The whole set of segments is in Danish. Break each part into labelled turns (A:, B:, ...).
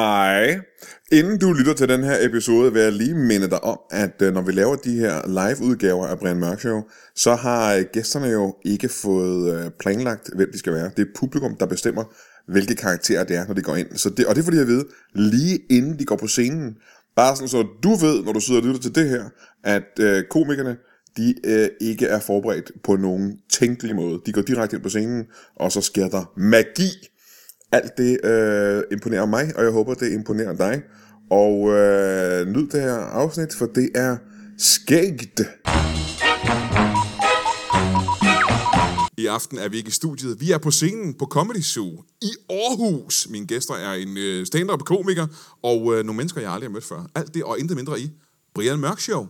A: Hej. Inden du lytter til den her episode, vil jeg lige minde dig om, at øh, når vi laver de her live-udgaver af Brian Mørk Show, så har øh, gæsterne jo ikke fået øh, planlagt, hvem de skal være. Det er publikum, der bestemmer, hvilke karakterer det er, når de går ind. Så det, og det får de at vide, lige inden de går på scenen. Bare sådan, så du ved, når du sidder og lytter til det her, at øh, komikerne, de øh, ikke er forberedt på nogen tænkelig måde. De går direkte ind på scenen, og så sker der magi. Alt det øh, imponerer mig, og jeg håber, det imponerer dig. Og øh, nyd det her afsnit, for det er skægt. I aften er vi ikke i studiet. Vi er på scenen på Comedy Zoo i Aarhus. Mine gæster er en øh, stand-up-komiker og øh, nogle mennesker, jeg aldrig har mødt før. Alt det og intet mindre i Brian Mørk Show.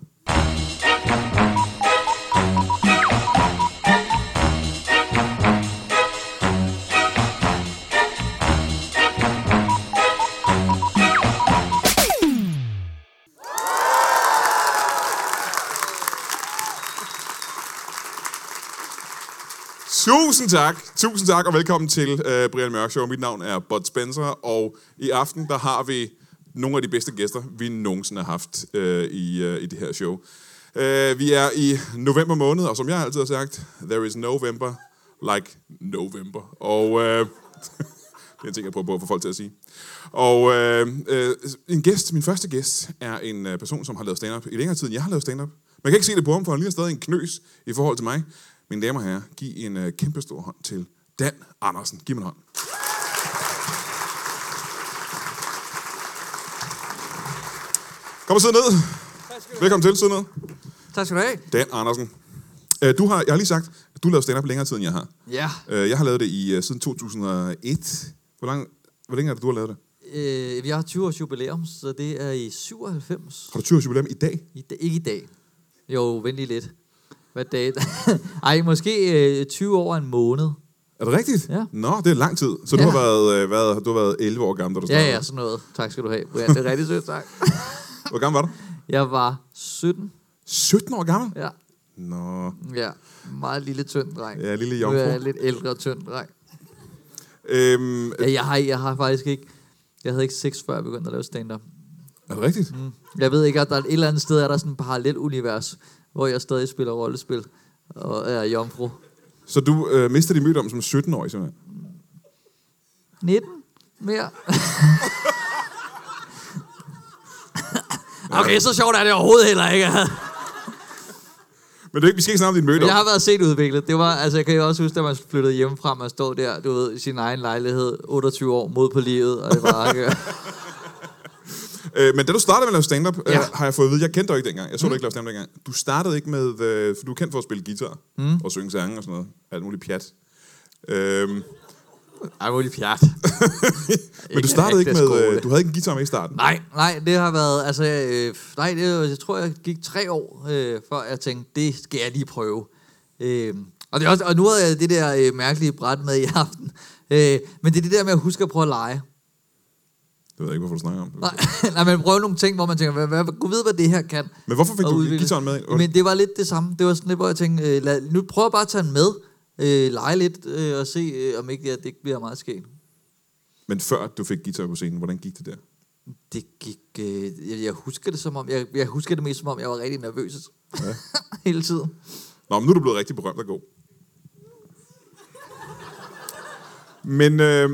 A: Tusind tak. Tusind tak, og velkommen til uh, Brian Mørk Show. Mit navn er Bud Spencer, og i aften der har vi nogle af de bedste gæster, vi nogensinde har haft uh, i, uh, i det her show. Uh, vi er i november måned, og som jeg altid har sagt, there is November like November. Og uh, det er en ting, jeg prøver på at få folk til at sige. Og uh, uh, en gæst, min første gæst, er en uh, person, som har lavet stand-up i længere tid, end jeg har lavet stand-up. Man kan ikke se det på ham, for han ligner stadig en knøs i forhold til mig. Mine damer og herrer, giv en uh, kæmpe stor hånd til Dan Andersen. Giv mig en hånd. Kom og sid ned. Velkommen til, sid ned.
B: Tak skal du have.
A: Dan Andersen. Øh, Du har, jeg har lige sagt, at du lavede stand-up længere tid, end jeg har.
B: Ja.
A: Øh, Jeg har lavet det i øh, siden 2001. Hvor, lang, hvor længe er det, du har lavet det?
B: Øh, jeg har 20 års jubilæum, så det er i 97.
A: Har du 20 års jubilæum i dag?
B: I, da- ikke i dag. Jo, vent lige lidt. Hvad dag? Ej, måske øh, 20 år og en måned.
A: Er det rigtigt?
B: Ja.
A: Nå, det er lang tid. Så du,
B: Ja.
A: har været, øh, været, du har været 11 år gammel, da du
B: Ja,
A: startede?
B: ja, sådan noget. Tak skal du have, Brian. Det er rigtig sødt, tak.
A: Hvor gammel var du?
B: Jeg var 17.
A: 17 år gammel?
B: Ja,
A: Nå.
B: ja. Meget lille, tynd dreng.
A: Ja, lille
B: Nu er
A: jomfru.
B: jeg lidt ældre, tynd dreng.
A: Øhm,
B: Ja, jeg, har, jeg har faktisk ikke... Jeg havde ikke sex, før jeg begyndte at lave stand-up.
A: er det rigtigt?
B: Mm. Jeg ved ikke, at der er et eller andet sted, er der sådan et parallelt univers, hvor jeg stadig spiller rollespil og er jomfru.
A: Så du øh, mistede din mødom som 17-årig, simpelthen?
B: 19 mere. okay, så sjovt er det overhovedet heller ikke.
A: Men det er ikke, vi skal ikke snakke om din mødom.
B: Jeg har været set udviklet. Det var, altså, jeg kan også huske, da man flyttede hjemmefra, man stod der, du ved, i sin egen lejlighed, 28 år, mod på livet, og det var ikke...
A: Øh, men da du startede med at lave stand-up, ja.
B: Ja.
A: øh, har jeg fået at vide, jeg kendte dig ikke dengang. Jeg så mm. dig ikke lave stand-up dengang. Du startede ikke med, øh, for du er kendt for at spille guitar mm. og synge sange og sådan noget. Alt muligt pjat. Øhm,
B: Ej, mulig pjat.
A: men du startede ikke
B: rigtig
A: med,
B: skole.
A: øh, du havde ikke en guitar med i starten.
B: Nej, nej, det har været, altså, øh, nej, det, jeg tror, jeg gik tre år, øh, før jeg tænkte, det skal jeg lige prøve. Øh, og, det er også, og nu havde jeg det der øh, mærkelige bræt med i aften. Øh, men det er det der med at huske at prøve at lege.
A: Det ved jeg ikke, hvorfor du snakker om.
B: Nej, nej, men prøve nogle ting, hvor man tænker, hvad, hvad, gud ved, hvad det her kan.
A: Men hvorfor fik
B: Og
A: du
B: udvikle.
A: guitaren med?
B: Men det var lidt det samme. Det var sådan lidt, hvor jeg tænkte, øh, lad, nu prøver jeg bare at tage den med, øh, lege lidt øh, og se, øh, om ikke det, her, det ikke bliver meget skægt.
A: Men før du fik guitar på scenen, hvordan gik det der?
B: Det gik, øh, jeg, jeg husker det som om, jeg, jeg husker det mest som om, jeg var rigtig nervøs ja. hele tiden.
A: Nå, men nu er du blevet rigtig berømt og god. Men øh,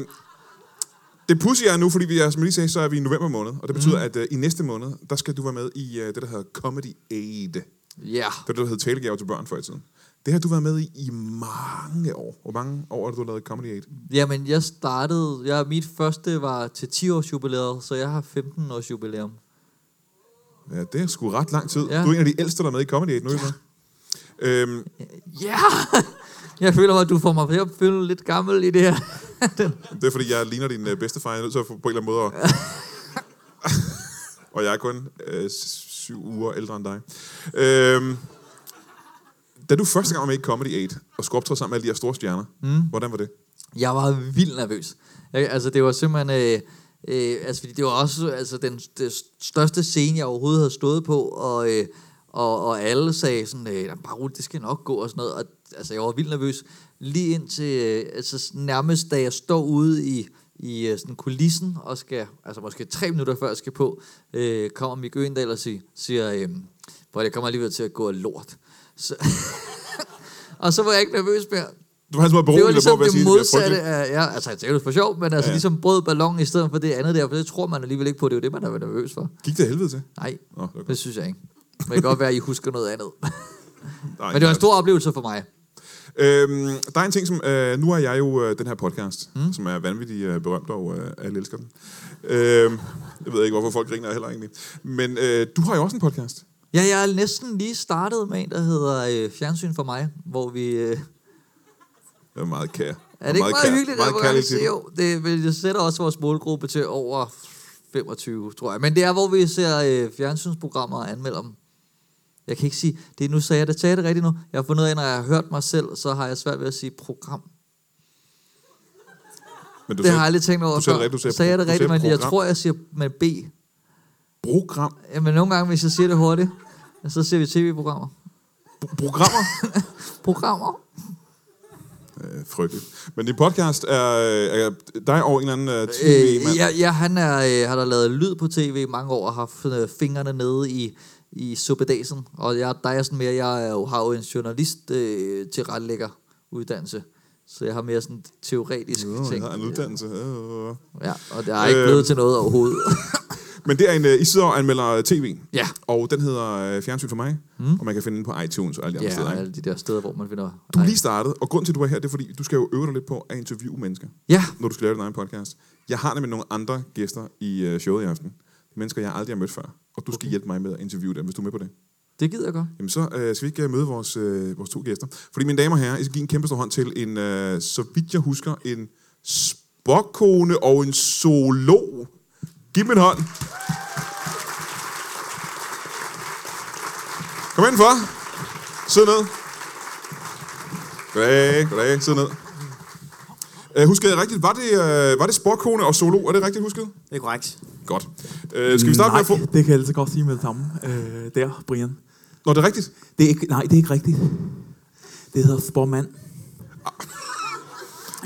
A: det pussy er nu, fordi vi er, som jeg lige sagde, så er vi i november måned. Og det betyder,
B: Mhm.
A: mm. at øh, i næste måned, der skal du være med i øh, det, der hedder Comedy Aid. Det
B: Ja,
A: var det, der hed talegaver til børn før i tiden. Det har du været med i i mange år. Hvor mange år har du lavet Comedy Aid?
B: jamen jeg startede, jeg, mit første var til 10 års jubilæet, så jeg har 15 års jubilæum.
A: Ja, det er sgu ret lang tid. Ja.
B: Ja.
A: Du er en af de ældste, der er med i Comedy Aid nu. Ja. Øhm,
B: Ja! Jeg føler, at du får mig til at føle lidt gammel i det her.
A: det er, fordi jeg ligner din øh, bedstefar. Jeg er nødt til at få på en eller anden måde at... Og jeg er kun øh, s- syv uger ældre end dig. Øhm, da du første gang var med i Comedy 8 og skulle optræde sammen med alle de her store stjerner, mm. hvordan var det?
B: Jeg var vildt nervøs. Jeg, altså, det var simpelthen... Øh, øh, altså, fordi det var også altså, den, den største scene, jeg overhovedet havde stået på, og, øh, og, og alle sagde sådan, øh, "Jamen, bare roligt, det skal nok gå, og sådan noget. Og, altså, jeg var vildt nervøs. Lige indtil, øh, altså, nærmest da jeg står ude i, i øh, sådan kulissen, og skal, altså måske tre minutter før jeg skal på, øh, kommer Mik Øendal og siger, siger øh, hvor det kommer alligevel til at gå lort. Så, og så var jeg ikke nervøs mere.
A: Du har altså været
B: Det var
A: beroligende
B: ligesom
A: på, hvad jeg
B: det
A: siger.
B: modsatte af, ja, altså jeg tænkte det for sjov, men altså
A: Ja.
B: ja. ligesom brød ballon i stedet for det andet der, for det tror man alligevel ikke på, det er jo det, man er nervøs for.
A: Gik det af helvede til?
B: Nej,
A: Nå, det var godt.
B: det synes jeg ikke. Men det kan godt være, at I husker noget andet.
A: Nej,
B: Men det var en stor oplevelse for mig.
A: Øhm, der er en ting, som... Øh, nu har jeg jo øh, den her podcast, mm. som er vanvittigt øh, berømt, og øh, alle elsker den. Øhm, jeg ved ikke, hvorfor folk griner heller egentlig. Men øh, du har jo også en podcast.
B: Ja, jeg er næsten lige startet med en, der hedder øh, Fjernsyn for mig, hvor vi... Øh,
A: Det er meget kær.
B: er det ikke meget,
A: kær-
B: hyggeligt?
A: Meget
B: hvor
A: kærlig
B: se,
A: titel.
B: jo, det, men det sætter også vores målgruppe til over 25, tror jeg. Men det er, hvor vi ser øh, fjernsynsprogrammer og anmelder dem. Jeg kan ikke sige... Det, nu sagde jeg det, sagde jeg det rigtigt nu. Jeg har fundet ud af, når jeg har hørt mig selv, så har jeg svært ved at sige program.
A: Men du
B: det har jeg
A: sagde
B: aldrig tænkt over
A: du sagde
B: før.
A: det rigtigt, du sagde
B: sagde jeg det
A: pro- du
B: rigtigt,
A: sagde
B: men jeg
A: program.
B: tror, jeg siger med B.
A: program.
B: Jamen, nogle gange, hvis jeg siger det hurtigt, så ser vi tv-programmer.
A: Pro- Programmer?
B: Programmer?
A: øh, frygteligt. Men din podcast er, øh, er dig og en eller anden øh, tv-mand.
B: Øh, ja, ja, han er, øh, har da lavet lyd på tv i mange år og har haft øh, fingrene nede i, i suppedasen. Og jeg, der er sådan mere, jeg er jo, har jo en journalist øh, til retlægger uddannelse. Så jeg har mere sådan teoretisk
A: Nå, jeg
B: ting.
A: har en uddannelse. Øh.
B: Ja, og det er ikke
A: Øh.
B: blevet til noget overhovedet.
A: Men det er en, øh, I sidder og anmelder tv.
B: Ja.
A: Og den hedder øh, Fjernsyn for mig. Mm. Og man kan finde den på iTunes og alle de andre
B: ja,
A: steder. Ikke?
B: alle de der steder, hvor man finder...
A: Du er
B: Ej.
A: lige startet, og grund til, at du er her, det er, fordi du skal jo øve dig lidt på at interviewe mennesker,
B: Ja,
A: når du skal lave din egen podcast. Jeg har nemlig nogle andre gæster i øh, showet i aften. Mennesker, jeg aldrig har mødt før. Og du skal hjælpe mig med at interviewe dem, hvis du er med på det.
B: det gider jeg godt.
A: Jamen så øh, skal vi ikke øh, møde vores, øh, vores to gæster. Fordi mine damer og herrer, I skal give en kæmpe stor hånd til en, øh, så vidt jeg husker, en spokkone og en solo. Giv dem en hånd. Kom ind for. Sid ned. Goddag, goddag. Sid ned. Øh, huskede jeg rigtigt? Var det, øh, var det spokkone og solo? Er det rigtigt husket?
C: Det er korrekt.
A: Godt. Øh, skal vi starte
D: nej,
A: med at få...
D: det kan jeg altså godt sige med det samme. Øh, der, Brian.
A: Nå, det er rigtigt.
D: Det er ikke, nej, det er ikke rigtigt. Det hedder spormand. Ikke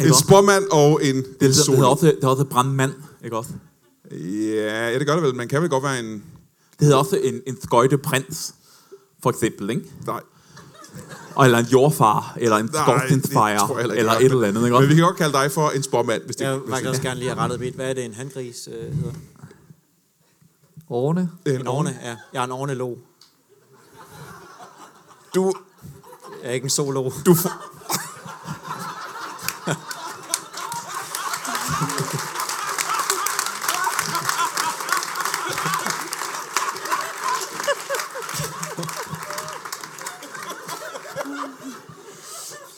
A: En
D: også?
A: spormand og en, en
D: det, hedder, det,
A: solo.
D: hedder også, det hedder også brandmand, ikke også?
A: Ja, ja, det gør det vel. Man kan vel godt være en...
D: Det hedder også en, en skøjteprins, for eksempel, ikke?
A: Nej,
D: Og- Eller en jordfar, eller en
A: nej det tror jeg
D: skorstensfejre,
A: heller ikke,
D: eller
A: jeg
D: et
A: gør.
D: eller andet, ikke
A: Men vi
D: også?
A: kan godt kalde dig for en spormand, hvis det...
C: Jeg
A: hvis
C: vil faktisk
A: det
C: også gerne lige have rettet mit. Hvad er det, en handgris øh, hedder?
B: Årene.
A: er
C: En orne, ja. Jeg er en ornelog.
A: Du,
C: Jeg er ikke en solo.
A: du, får-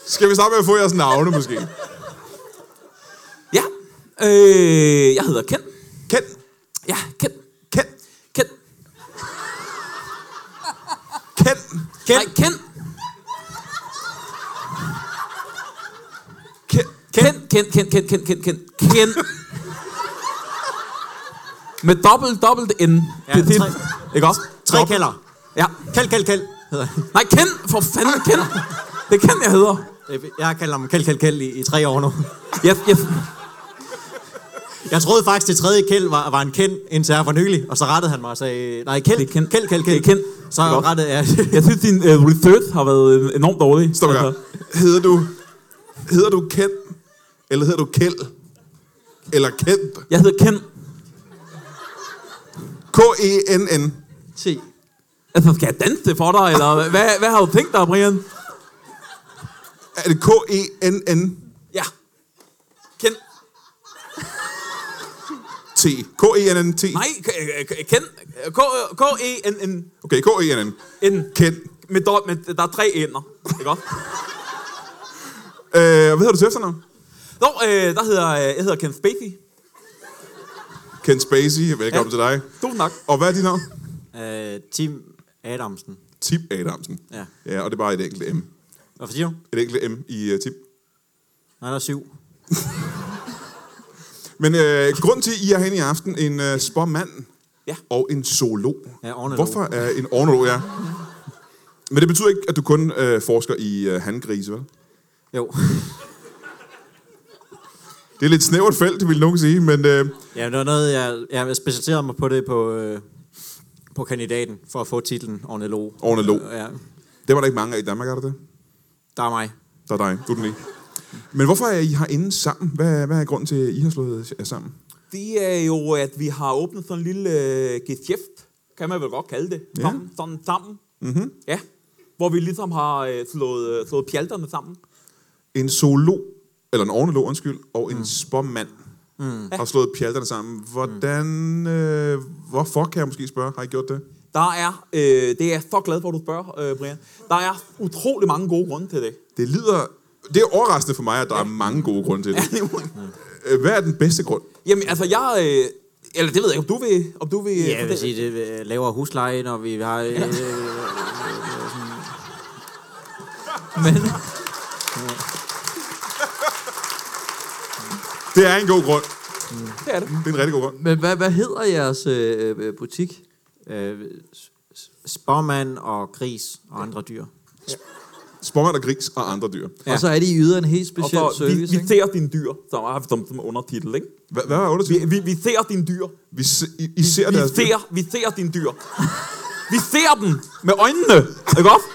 A: Skal vi starte med at få jeres navne, måske?
D: Ja, øh, jeg hedder Ken.
A: Ken,
D: Ja, Ken.
A: Ken,
D: Ken.
A: Ken.
D: Ken. Nej, Ken. Ken. Ken. Ken. Ken. Ken. Ken. Ken. Ken. Ken. Med dobbelt, dobbelt N.
C: Ja,
D: det, det,
C: tre-
D: ikke også?
C: Tre
D: Dobbelt.
C: kælder.
D: Ja.
C: Kæld, kæld, kæld. hedder han.
D: Nej, Ken. For fanden, Ken. Det er Ken, jeg hedder.
C: Jeg har kaldt ham kæld, kæld, kæld i, i tre år nu.
D: Jeg, jeg,
C: Jeg troede faktisk, det tredje kæld var, var en kend, indtil her for nylig. Og så rettede han mig og sagde, nej, kæld,
D: Det er Kjeld.
C: kæld, kæld,
D: Det
C: kæld.
D: er Kjeld.
C: Så
D: Det er godt.
C: rettede jeg...
D: jeg synes, din uh, research har været øh, enormt dårlig.
A: Stop altså. Hedder du, hedder du Ken, eller hedder du Kjeld? Eller Kent?
D: jeg hedder Ken.
A: K-E-N-N.
B: T.
D: Altså, skal jeg danse det for dig, eller hvad, hvad har du tænkt dig, Brian?
A: Er det K-E-N-N-T?
D: Ja. Ken.
A: K-E-N-N-T?
D: Nej, k- k- Ken. K- K-E-N-N.
A: Okay, K-E-N-N.
D: N.
A: Ken.
D: Med, dår, med der er tre ender, ikke også?
A: Øh, hvad hedder du til efternavn?
D: Nå, øh, der hedder, øh, jeg hedder Ken Spacey.
A: Ken Spacey, velkommen ja. til dig.
D: Du nok.
A: Og hvad er dit navn?
C: Øh, Tim Adamsen.
A: Tip Adamsen.
C: Ja.
A: Ja, og det er bare et enkelt M.
C: Hvorfor siger du?
A: Et enkelt M i uh, Tip.
C: Nej, der er syv.
A: Men øh, grund til, at I er herinde i aften, en øh, spormand
D: Ja.
A: og en solo.
C: Ja, ornolog.
A: Hvorfor er en ornolog, ja. Men det betyder ikke, at du kun øh, forsker i øh, handgrise, vel?
C: Jo.
A: Det er lidt snævert felt, vil nogen sige, men øh,
C: Ja, det var noget, jeg, jeg specialiserede mig på det på, øh, på kandidaten, for at få titlen ornolog.
A: Ornolog.
C: Ja,
A: det var der ikke mange af i Danmark, er der det?
C: der er mig.
A: Der er dig, du er den ikke. Men hvorfor er I herinde sammen? Hvad, hvad er grunden til, at I har slået jer sammen?
D: Det er jo, at vi har åbnet sådan en lille øh, geschæft, kan man vel godt kalde det,
A: Ja.
D: sammen, sådan sammen. Mm-hmm.
C: Mhm.
D: Ja, hvor vi ligesom har øh, slået, øh, slået pjalterne sammen.
A: En zoolog, eller en ornolog, undskyld, og en mm. spormand mm. har slået pjalterne sammen. Hvordan,
D: Mm.
A: øh, hvorfor kan jeg måske spørge, har I gjort det?
D: Der er, øh, det er jeg så glad for, at du spørger, øh, Brian. Der er utrolig mange gode grunde til det.
A: Det lyder... Det er overraskende for mig, at der er mange gode grunde til det.
D: det må jeg-
A: Øh, Hvad er den bedste grund?
D: Jamen, altså jeg... Øh, eller det ved jeg ikke, om du vil... Om du vil øh,
C: Ja, jeg vil
D: fortælle-
C: sige, det øh, lavere husleje, når vi har... Øh, øh,
B: Men,
A: Det er en god grund.
D: Det er det.
A: Det er en rigtig god grund.
B: men hvad, hvad hedder jeres øh, øh, butik?
C: øh, øh, s- s- spormand og gris og andre dyr.
A: Spormand og gris og andre dyr.
B: Ja. Og så er det i yder en helt
D: Og
B: speciel
D: så, vi,
B: service,
D: vi
B: ikke?
D: ser dine dyr, som er som, som undertitel, ikke?
A: Hvad, hvad var
D: Vi,
A: undertiden?
D: vi, vi ser dine dyr.
A: Vi, se- I, I ser
D: Vi
A: deres...
D: ser, vi ser dine dyr. vi ser dem med øjnene, ikke også?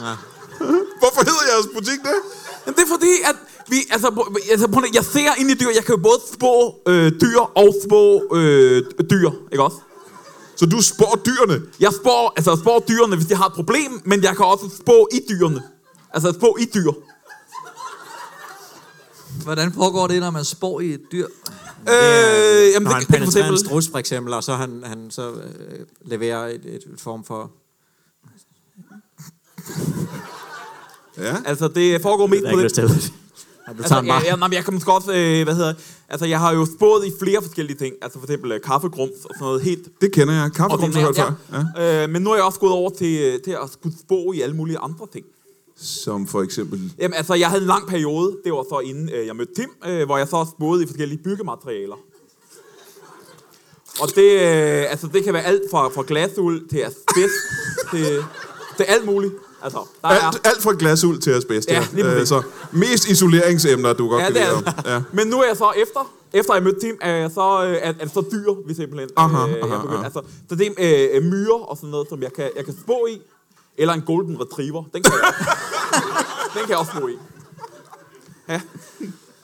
D: Øh,
A: Hvorfor hedder jeres butik det?
D: Jamen, det er fordi, at vi, altså, på- altså på, jeg ser ind i dyr, jeg kan jo både spå øh, dyr og spå øh, dyr, ikke også?
A: Så du spår dyrene.
D: Jeg spår, altså jeg spår dyrene, hvis de har et problem, men jeg kan også spå i dyrene. Altså spå i dyr.
B: Hvordan foregår det, når man spår i et dyr?
D: Øh, jamen,
C: Når han
D: det, det, kan for
C: penetrerer en
D: eksempel...
C: strus, for eksempel, og så han, han så øh, leverer et, et form for...
A: Ja.
D: Altså, det foregår mest på den...
C: det. Du tager
D: Altså,
C: den
D: ja,
C: bare.
D: ja, nej, men jeg kan måske også, øh, hvad hedder, altså jeg har jo spået i flere forskellige ting, altså for eksempel øh, kaffegrums og sådan noget helt...
A: Det kender jeg. Kaffegrums har jeg hørt
D: ordinært,
A: før. Ja.
D: ja. Øh, men nu er jeg også gået over til, øh, til at skulle spå i alle mulige andre ting.
A: Som for eksempel...
D: Jamen altså, jeg havde en lang periode, det var så inden øh, jeg mødte Tim, øh, hvor jeg så også boede i forskellige byggematerialer. Og det, øh, altså, det kan være alt fra, fra glasuld til asbest til, til alt muligt. Altså, der er,
A: Alt, alt fra glasuld til asbest. Øh,
D: Ja, lige præcis.
A: så mest isoleringsemner, du godt
D: ja,
A: kan
D: det
A: lide.
D: er
A: om. Ja.
D: det. Men nu er jeg så efter, efter jeg mødte Tim, er jeg så, øh, er, er det så dyr, vi simpelthen.
A: Aha,
D: jeg
A: aha,
D: begyndte.
A: aha.
D: Altså, så det er øh, myrer og sådan noget, som jeg kan, jeg kan spå i. Eller en golden retriever. Den kan jeg, den kan jeg også spå i.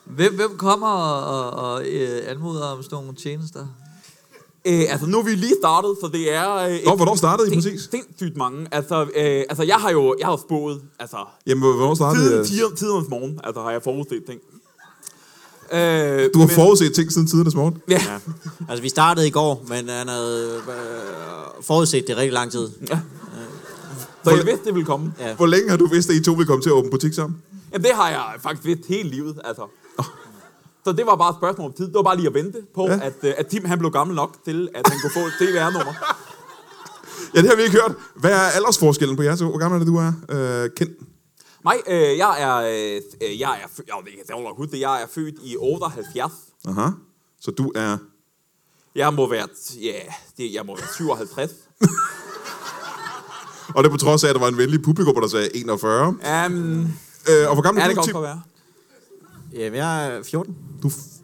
B: Hvem, hvem kommer og, og, og øh, anmoder om sådan nogle tjenester?
D: Øh, altså, nu er vi lige startet, så det er... Øh,
A: Nå, hvornår startede I præcis?
D: Sindssygt mange. Altså, øh, altså jeg har jo jeg har jo spået, altså...
A: Jamen, hvornår startede
D: Siden
A: jeg?
D: tider- tidernes morgen, altså har jeg forudset ting. Øh,
A: Du har forudset ting siden tidernes morgen.
D: Ja,
C: Ja. Altså, vi startede i går, men han havde øh, forudset det rigtig lang tid.
D: så jeg vidste, det ville komme. Ja.
A: Hvor længe har du vidst, at I to ville komme til at åbne butik sammen?
D: Jamen, det har jeg faktisk vidst hele livet, altså. Så det var bare et spørgsmål om tid. Det var bare lige at vente på,
A: Ja.
D: ja. at, øh, at Tim han blev gammel nok til, at han kunne få et DVR-nummer.
A: Ja, det har vi ikke hørt. Hvad er aldersforskellen på jer to? Hvor gammel er det, du er? Øh, kendt.
D: Nej, øh, jeg er... Øh, jeg er født, jeg, jeg, jeg, jeg, huske det. jeg er født i 78.
A: Aha. Så du er...
D: Jeg må være, ja, det, jeg må være 57.
A: Og det er på trods af, at der var en venlig publikum, der sagde 41.
D: Um,
A: Øh, og hvor gammel
D: er
A: er,
D: det
A: du?
D: godt
A: Tim?
D: for at være?
C: Jamen, jeg er 14.
A: Du f-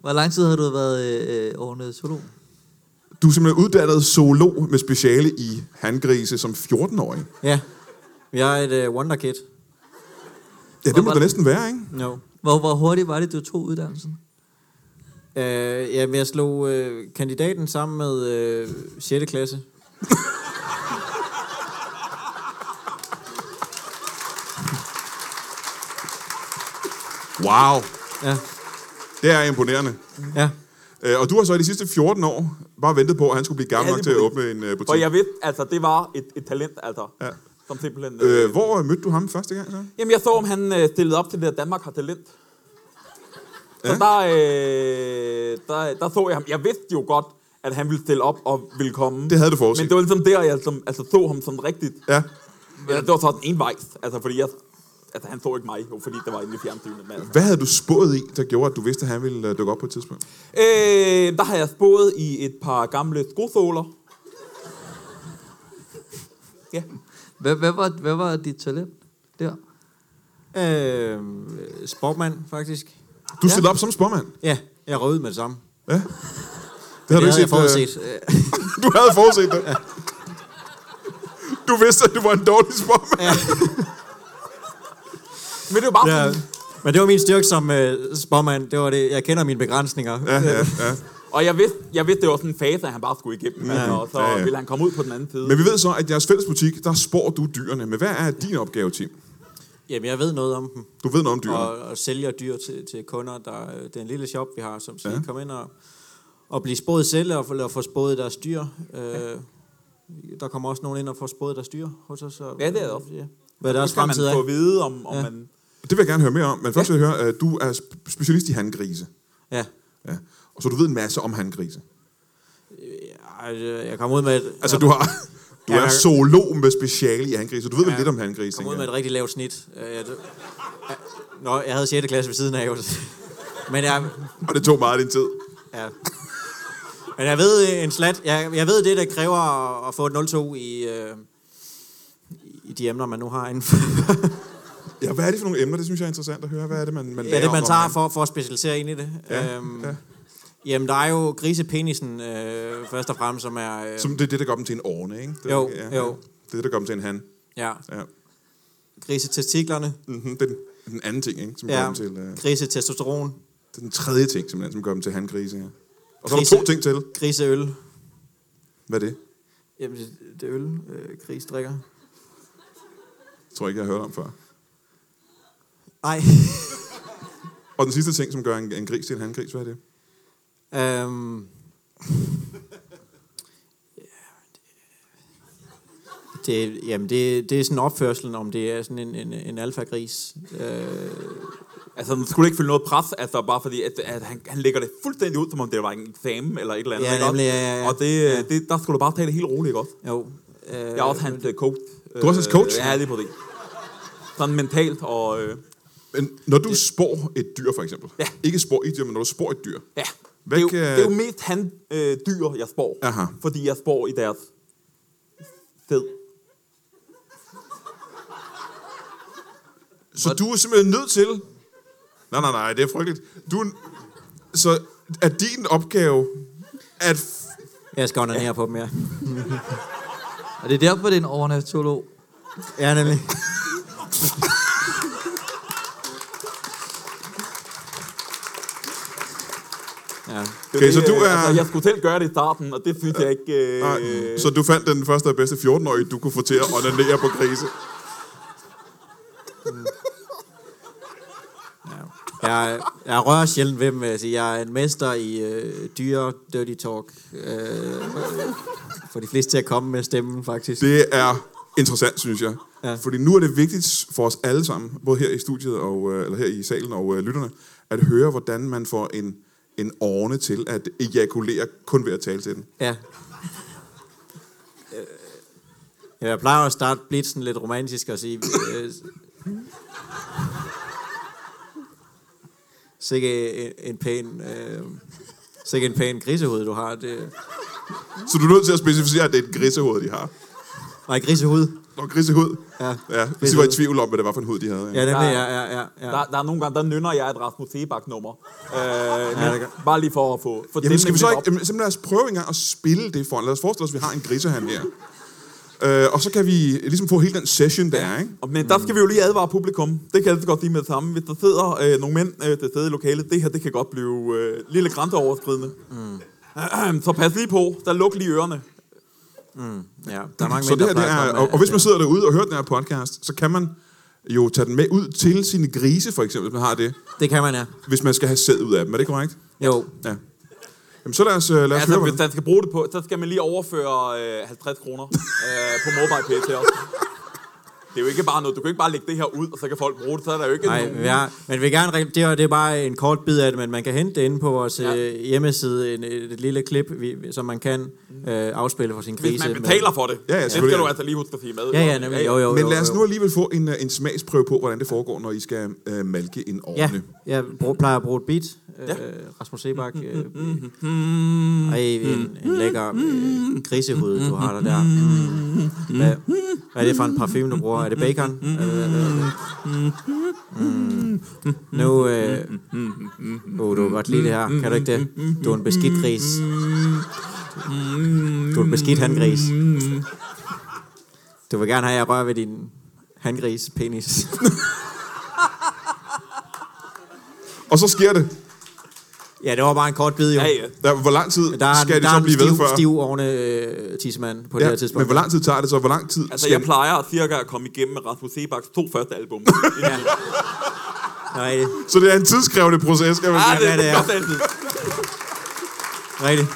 B: Hvor lang tid har du været øh, øh, ornitolog?
A: du er simpelthen uddannet zoolog med speciale i handgrise som 14-årig.
C: Ja. Jeg er et øh, wonderkid.
A: Ja, det må da næsten være, ikke?
C: No.
B: Hvor, hvor hurtigt var det, du tog uddannelsen?
C: Øh, jamen, jeg slog øh, kandidaten sammen med øh, 6. klasse.
A: Wow.
C: Ja,
A: Det er imponerende.
C: ja.
A: Øh, og du har så i de sidste 14 år bare ventet på, at han skulle blive gammel
D: Ja,
A: nok
D: lige
A: til at
D: præcis.
A: åbne en øh, butik.
D: For jeg vidste, altså, det var et, et talent, altså.
A: Ja.
D: Ja. Som simpelthen... Øh.
A: øh, hvor mødte du ham første gang så?
D: Jamen, jeg så, om han øh, stillede op til det, at Danmark har talent. Så der, øh, der, der så jeg ham. Jeg vidste jo godt, at han ville stille op og ville komme.
A: Det havde du forudset.
D: Men det var ligesom der, jeg som, altså, så ham som rigtigt.
A: Ja.
D: Ja. Det var sådan en vejs, altså, fordi jeg... Altså, han så ikke mig, jo, fordi det var inde i fjernsynet. Men, altså.
A: Hvad havde du spået i, der gjorde, at du vidste, at han ville øh, dukke op på et tidspunkt?
D: Øh, der har jeg spået i et par gamle skosåler. Ja.
B: Hvad, hvad, var, hvad var dit talent der?
C: Øh, sportmand, faktisk.
A: Du ja. stillede op som spormand.
C: Ja, jeg røvede med det samme.
A: Ja. Det
C: Det
A: havde du ikke
C: havde jeg
A: set. øh,
C: forudset. Øh,
A: Du havde forudset det. Du vidste, at du var en dårlig spormand. Ja.
D: Men det er jo bare
C: Ja.
D: ja.
C: Men det var min styrke som øh, spormand. Det var det. Jeg kender mine begrænsninger. Ja.
A: Ja, ja.
D: Og jeg vidste, jeg vidste, det var sådan en fase, at han bare skulle igennem, ja. altså, og så
A: Ja,
D: ja,
A: ja.
D: ja. ville han komme ud på den anden side.
A: Men vi ved så, at i jeres fælles butik, der spår du dyrene. Men hvad er din opgave, Tim?
C: Jamen, jeg ved noget om dem.
A: Du ved noget om dyrene.
C: Og, og sælger dyr til, til kunder. Der, øh, det er en lille shop, vi har, som skal ja. komme ind og, og blive spået selv og få, eller få spået deres dyr. Øh, der kommer også nogen ind og får spået deres dyr hos os. Og,
D: Ja, det er der også.
C: Ja. Hvad deres
D: så kan man
C: fremtid
D: få
C: er.
D: at vide, om, om ja. man...
A: Det vil jeg gerne høre mere om. Men først vil jeg høre, at du er sp- specialist i handgrise.
C: Ja.
A: Ja. Og så du ved en masse om handgrise.
C: Ej, øh, Jeg kom ud med et,
A: Altså, du har... Du
C: Ja,
A: er
C: jeg-
A: zoolog med speciale i handgrise. Du ved vel
C: Ja.
A: lidt om handgrise,
C: kom ud
A: tænker
C: med
A: jeg.
C: et rigtig lavt snit. Øh, jeg, det- Ja. Nå, jeg havde 6. klasse ved siden af. jo. Men jeg,
A: Og det tog meget af din tid.
C: Ja. Men jeg ved øh, en slat. Jeg, jeg ved det, der kræver at, at få et 0-2 i, øh, i de emner, man nu har inden for.
A: Ja, hvad er det for nogle emner? Det synes jeg er interessant at høre. Hvad er det, man, man
C: Hvad er det, man tager
A: for?
C: for, for at specialisere ind i det? Øhm,
A: Ja, ja.
C: Jamen, der er jo grisepenisen øh, først og fremmest, som er... Øh,
A: Som det er det, der gør dem til en orne, ikke? Det, er-
C: Jo,
A: ja,
C: jo.
A: ja. Det er det, der gør dem til en han.
C: ja,
A: Ja.
C: grisetestiklerne.
A: Mm-hmm. Det er den, den anden ting, ikke? Som gør
C: Ja,
A: dem til... øh,
C: grisetestosteron.
A: Det er den tredje ting, simpelthen, som gør dem til handgrise. Ja. Og så er
C: Grise.
A: der to ting til.
C: Griseøl.
A: Hvad er det?
C: Jamen, det, det er øl, øh, gris drikker.
A: Det tror jeg ikke, jeg har hørt om før.
C: Nej.
A: Og den sidste ting, som gør en, en gris til en handgris, hvad er det?
C: Øhm. Ja, det- Det, jamen, det, det er sådan opførselen, om det er sådan en, en, en alfagris. Øh,
D: Altså, man skulle ikke følge noget pres, altså bare fordi, at, at han, han lægger det fuldstændig ud, som om det var en eksamen eller et eller andet.
C: Ja,
D: ikke også?
C: nemlig, ja, ja, ja.
D: Og det, øh, det, der skulle du bare tage det helt roligt, ikke også?
C: jo. Øh,
D: Jeg er også hans øh, coach. Du
A: er også hans coach?
D: Ja, lige på det. Sådan mentalt og... Øh,
A: Men når du det... spår et dyr, for eksempel.
D: Ja.
A: Ikke spår et dyr, men når du spår et dyr.
D: ja.
A: Hvad
D: det, er
A: kan-
D: jo, det er jo mest han øh, dyr, jeg spår.
A: øh- Aha.
D: Fordi jeg spår i deres fed.
A: Så du er simpelthen nødt til... Nej, nej, nej, det er frygteligt. Du... er- Så er din opgave at... f-
C: Jeg skal onanere på dem, ja.
B: Og det er derfor, det er en ornatolog.
C: Ja, nemlig. ja.
D: Det
A: Okay,
D: det,
A: så du
D: øh,
A: er-
D: Altså, jeg skulle selv gøre det i starten, og det synes jeg ikke... Øh,
A: Nej, så du fandt den første og bedste 14-årige, du kunne få til at onanere på grise.
C: Jeg, jeg rører sjældent ved dem, vil jeg sige. Jeg er en mester i øh, dyre dirty talk. Øh, for de fleste til at komme med stemmen, faktisk.
A: Det er interessant, synes jeg. Ja.
C: Ja.
A: Fordi nu er det vigtigt for os alle sammen, både her i studiet og øh, eller her i salen og øh, lytterne, at høre, hvordan man får en, en orne til at ejakulere kun ved at tale til den.
C: Ja. Øh, Jeg plejer at starte blitzen lidt romantisk og sige... Øh, sikke en, en pæn... Øh, sikke en pæn grisehoved, du har. Det,
A: Så du er nødt til at specificere, at det er et grisehoved, de har.
C: nej, grisehud.
A: Nå, grisehud.
C: Ja.
A: ja hvis I var i tvivl om, hvad det var for en hud, de havde. Ja.
C: Ja, nemlig,
D: Ja.
C: ja, ja, ja. ja.
D: Der, der er nogle gange, der nynner jeg et Rasmus Sebak-nummer. Øh,
C: Ja,
D: ja,
C: det gør-
D: bare lige for at få... få
A: Jamen, skal vi så
D: tændingen
A: ikke,
D: lidt
A: jamen, simpelthen lad os prøve engang at spille det for. Lad os forestille os, at vi har en grisehan her. Øh, og så kan vi ligesom få hele den session, der er, ikke?
D: op. Men der skal vi jo lige advare publikum. Det kan jeg altid godt sige med det samme. Hvis der sidder øh, nogle mænd øh, til stede i lokalet, det her det kan godt blive øh, lille grænseoverskridende. Mm. Så pas lige på. Der luk lige ørerne.
C: ja. Der er mange
A: Så
C: mænd,
A: det
C: der
A: her, det
C: plejer at
A: er,
C: komme
A: og,
C: med-
A: og hvis man sidder derude og hører den her podcast, så kan man jo tage den med ud til sine grise, for eksempel, hvis man har det,
C: Det kan man, ja.
A: hvis man skal have sæd ud af dem. Er det korrekt?
C: Jo.
A: Ja. Jamen, så lad os, øh, lad os altså,
D: Altså,
A: høre,
D: hvis
A: hvordan.
D: man skal bruge det på, så skal man lige overføre øh, 50 kroner øh, på MobilePay til os. Det er jo ikke bare noget. Du kan ikke bare lægge det her ud, og så kan folk bruge det. Så er der jo ikke
C: Nej,
D: nogen...
C: vi har, men vi vil gerne, reg- det, er, det er bare en kort bid af det, men man kan hente det inde på vores ja.
D: Ja.
C: øh, hjemmeside, en, et, et lille klip, vi, som man kan øh, afspille for sin grise.
D: Hvis man
C: med-
D: betaler for det.
A: Ja, ja,
D: det
A: selvfølgelig.
D: skal du altså lige huske at sige med.
C: Ja, ja, nemlig, jo, jo, jo,
A: Men lad os
C: jo.
A: nu alligevel få en, øh, en smagsprøve på, hvordan det foregår, når I skal øh, malke en
C: Ja,
A: ovne.
C: jeg brug, plejer at bruge et beat. Øh, Rasmus Sebak. Øh,
A: Mm-hmm. Mm-hmm.
C: ej, en, en lækker øh, grisehoved, du har der der. Mm. Hvad, Hvad er det for en parfume, du bruger? Er det bacon?
A: Mm-hmm.
C: Øh, øh, øh. Mm. Nu... Øh, oh, du kan godt lide det her. Kan du ikke det?
A: Mm-hmm.
C: Du er en beskidt gris.
A: Mm-hmm.
C: Du er en beskidt handgris. Du vil gerne have, at jeg rører ved din handgris penis.
A: Og så sker det.
C: ja, det var bare en kort bid, jo.
D: Ja, ja.
A: Der, hvor lang tid
C: Der er,
A: skal
C: en,
A: det
C: der er
A: så
C: en
A: blive
C: stiv,
A: ved før?
C: stiv ovne øh, tissemand på ja, det her
A: Ja,
C: tidspunkt.
A: men hvor lang tid tager det så? Hvor lang tid
D: Altså,
A: skal-
D: jeg plejer cirka at komme igennem med Rasmus Sebaks to første album.
C: Nej, det
A: Så det er en tidskrævende proces, kan man
D: ah,
A: sige.
D: det,
C: Ja, det
D: det, det
C: er.
D: er godt altid.
C: Rigtigt.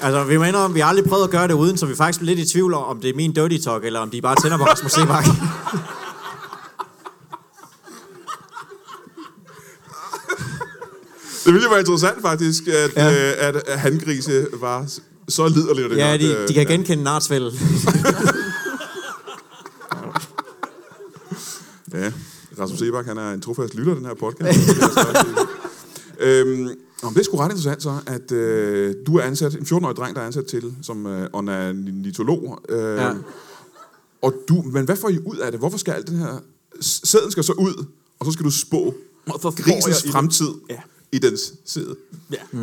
C: Altså, vi må indrømme, vi har aldrig prøvet at gøre det uden, så vi er faktisk lidt i tvivl om, om det er min dirty talk, eller om de bare tænder på Rasmus Sebak.
A: Det ville jo være interessant faktisk, at,
C: Ja.
A: ja. øh, at at handgrise var s- så liderlige. og Det
C: ja,
A: godt,
C: de,
A: øh,
C: de kan genkende Nartsvæld.
A: Ja, Rasmus Sebak, han er en trofast lytter af den her podcast. Det vil jeg så sige. øhm, nå, men det er sgu ret interessant så, at øh, du er ansat, en 14-årig dreng, der er ansat til som øh, onanitolog. Øh,
C: Ja.
A: ja. og du, men hvad får I ud af det? Hvorfor skal alt den her... s- Sæden skal så ud, og så skal du spå
D: Og så får jeg i
A: grisens
D: det.
A: fremtid
D: Ja.
A: i dens sæde.
D: Ja.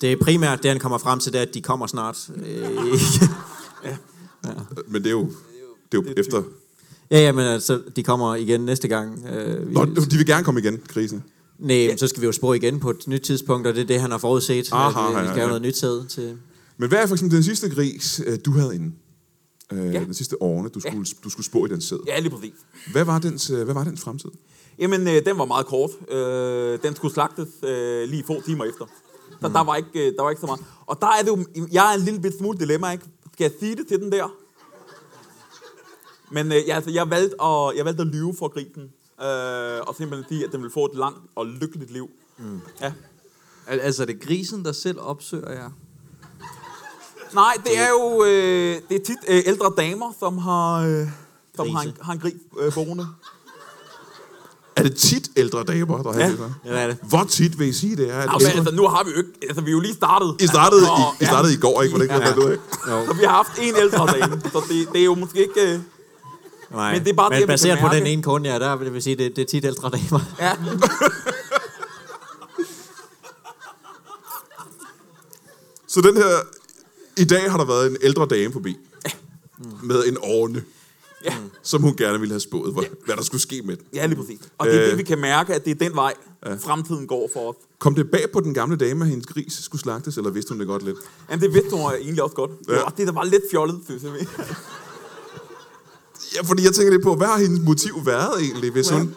C: Det er primært det, han kommer frem til, det er, at de kommer snart. Øh,
A: Øh, Men det er jo, det er jo efter...
C: ja, ja, men altså, de kommer igen næste gang. Øh, vi,
A: Nå, de vil gerne komme igen, krisen.
C: nej, men så skal vi jo spore igen på et nyt tidspunkt, og det er det, han har forudset.
A: Aha,
C: at, øh, vi
A: ja, Ah,
C: skal
A: ja.
C: have noget nyt sæd til.
A: Men hvad er for eksempel den sidste gris, øh, du havde inde? Øh,
D: Ja.
A: ja. Den sidste årene, du skulle, ja. du skulle spå i den sæd.
D: ja, lige præcis.
A: Hvad var dens, øh, hvad var dens fremtid?
D: Jamen, øh, den var meget kort. Øh, den skulle slagtes øh, lige få timer efter. Så der, var ikke, øh, der var ikke så meget. Og der er det jo, jeg er en lille bit smule dilemma, ikke? Skal jeg sige det til den der? Men øh, ja, altså, jeg, valgte at, jeg valgte at lyve for grisen. Øh, og simpelthen sige, at den ville få et langt og lykkeligt liv. Mm. Ja.
B: Al- altså, er det grisen, der selv opsøger jer?
D: Nej, det er jo øh, det er tit øh, ældre damer, som har, øh, som
C: Grise.
D: har, en, har en gris øh, boende.
A: Er det tit ældre damer, der har
D: Ja.
A: det så?
C: Ja, det er det.
A: Hvor tit vil I sige det er? at
D: Nå, men altså, nu har vi jo ikke... Altså, vi er jo lige startet.
A: I startede,
D: altså, og-
A: I, I, startede i går, ikke? Var det ikke ja. det,
C: Jo,
D: Så vi har haft en ældre dame, så det, det er jo måske ikke... Øh,
C: nej.
D: Men det
C: men
D: er bare det, man kan
C: baseret på den
D: mærke.
C: ene kunde, ja, der vil jeg sige, det, det er tit ældre damer.
D: ja.
A: Så den her... I dag har der været en ældre dame forbi. Med en årne,
D: Ja.
A: som hun gerne ville have spået, hvad, hvad der skulle ske med den.
D: ja, lige præcis. Og det er det,
A: Øh.
D: vi kan mærke, at det er den vej, fremtiden går for os.
A: Kom det bag på den gamle dame, at hendes gris skulle slagtes, eller vidste hun det godt lidt?
D: Jamen, det vidste hun egentlig også godt. Ja.
A: Ja.
D: Jo, og det der var lidt fjollet, synes jeg.
A: Ja, fordi jeg tænker lidt på, hvad har hendes motiv været egentlig, hvis ja. hun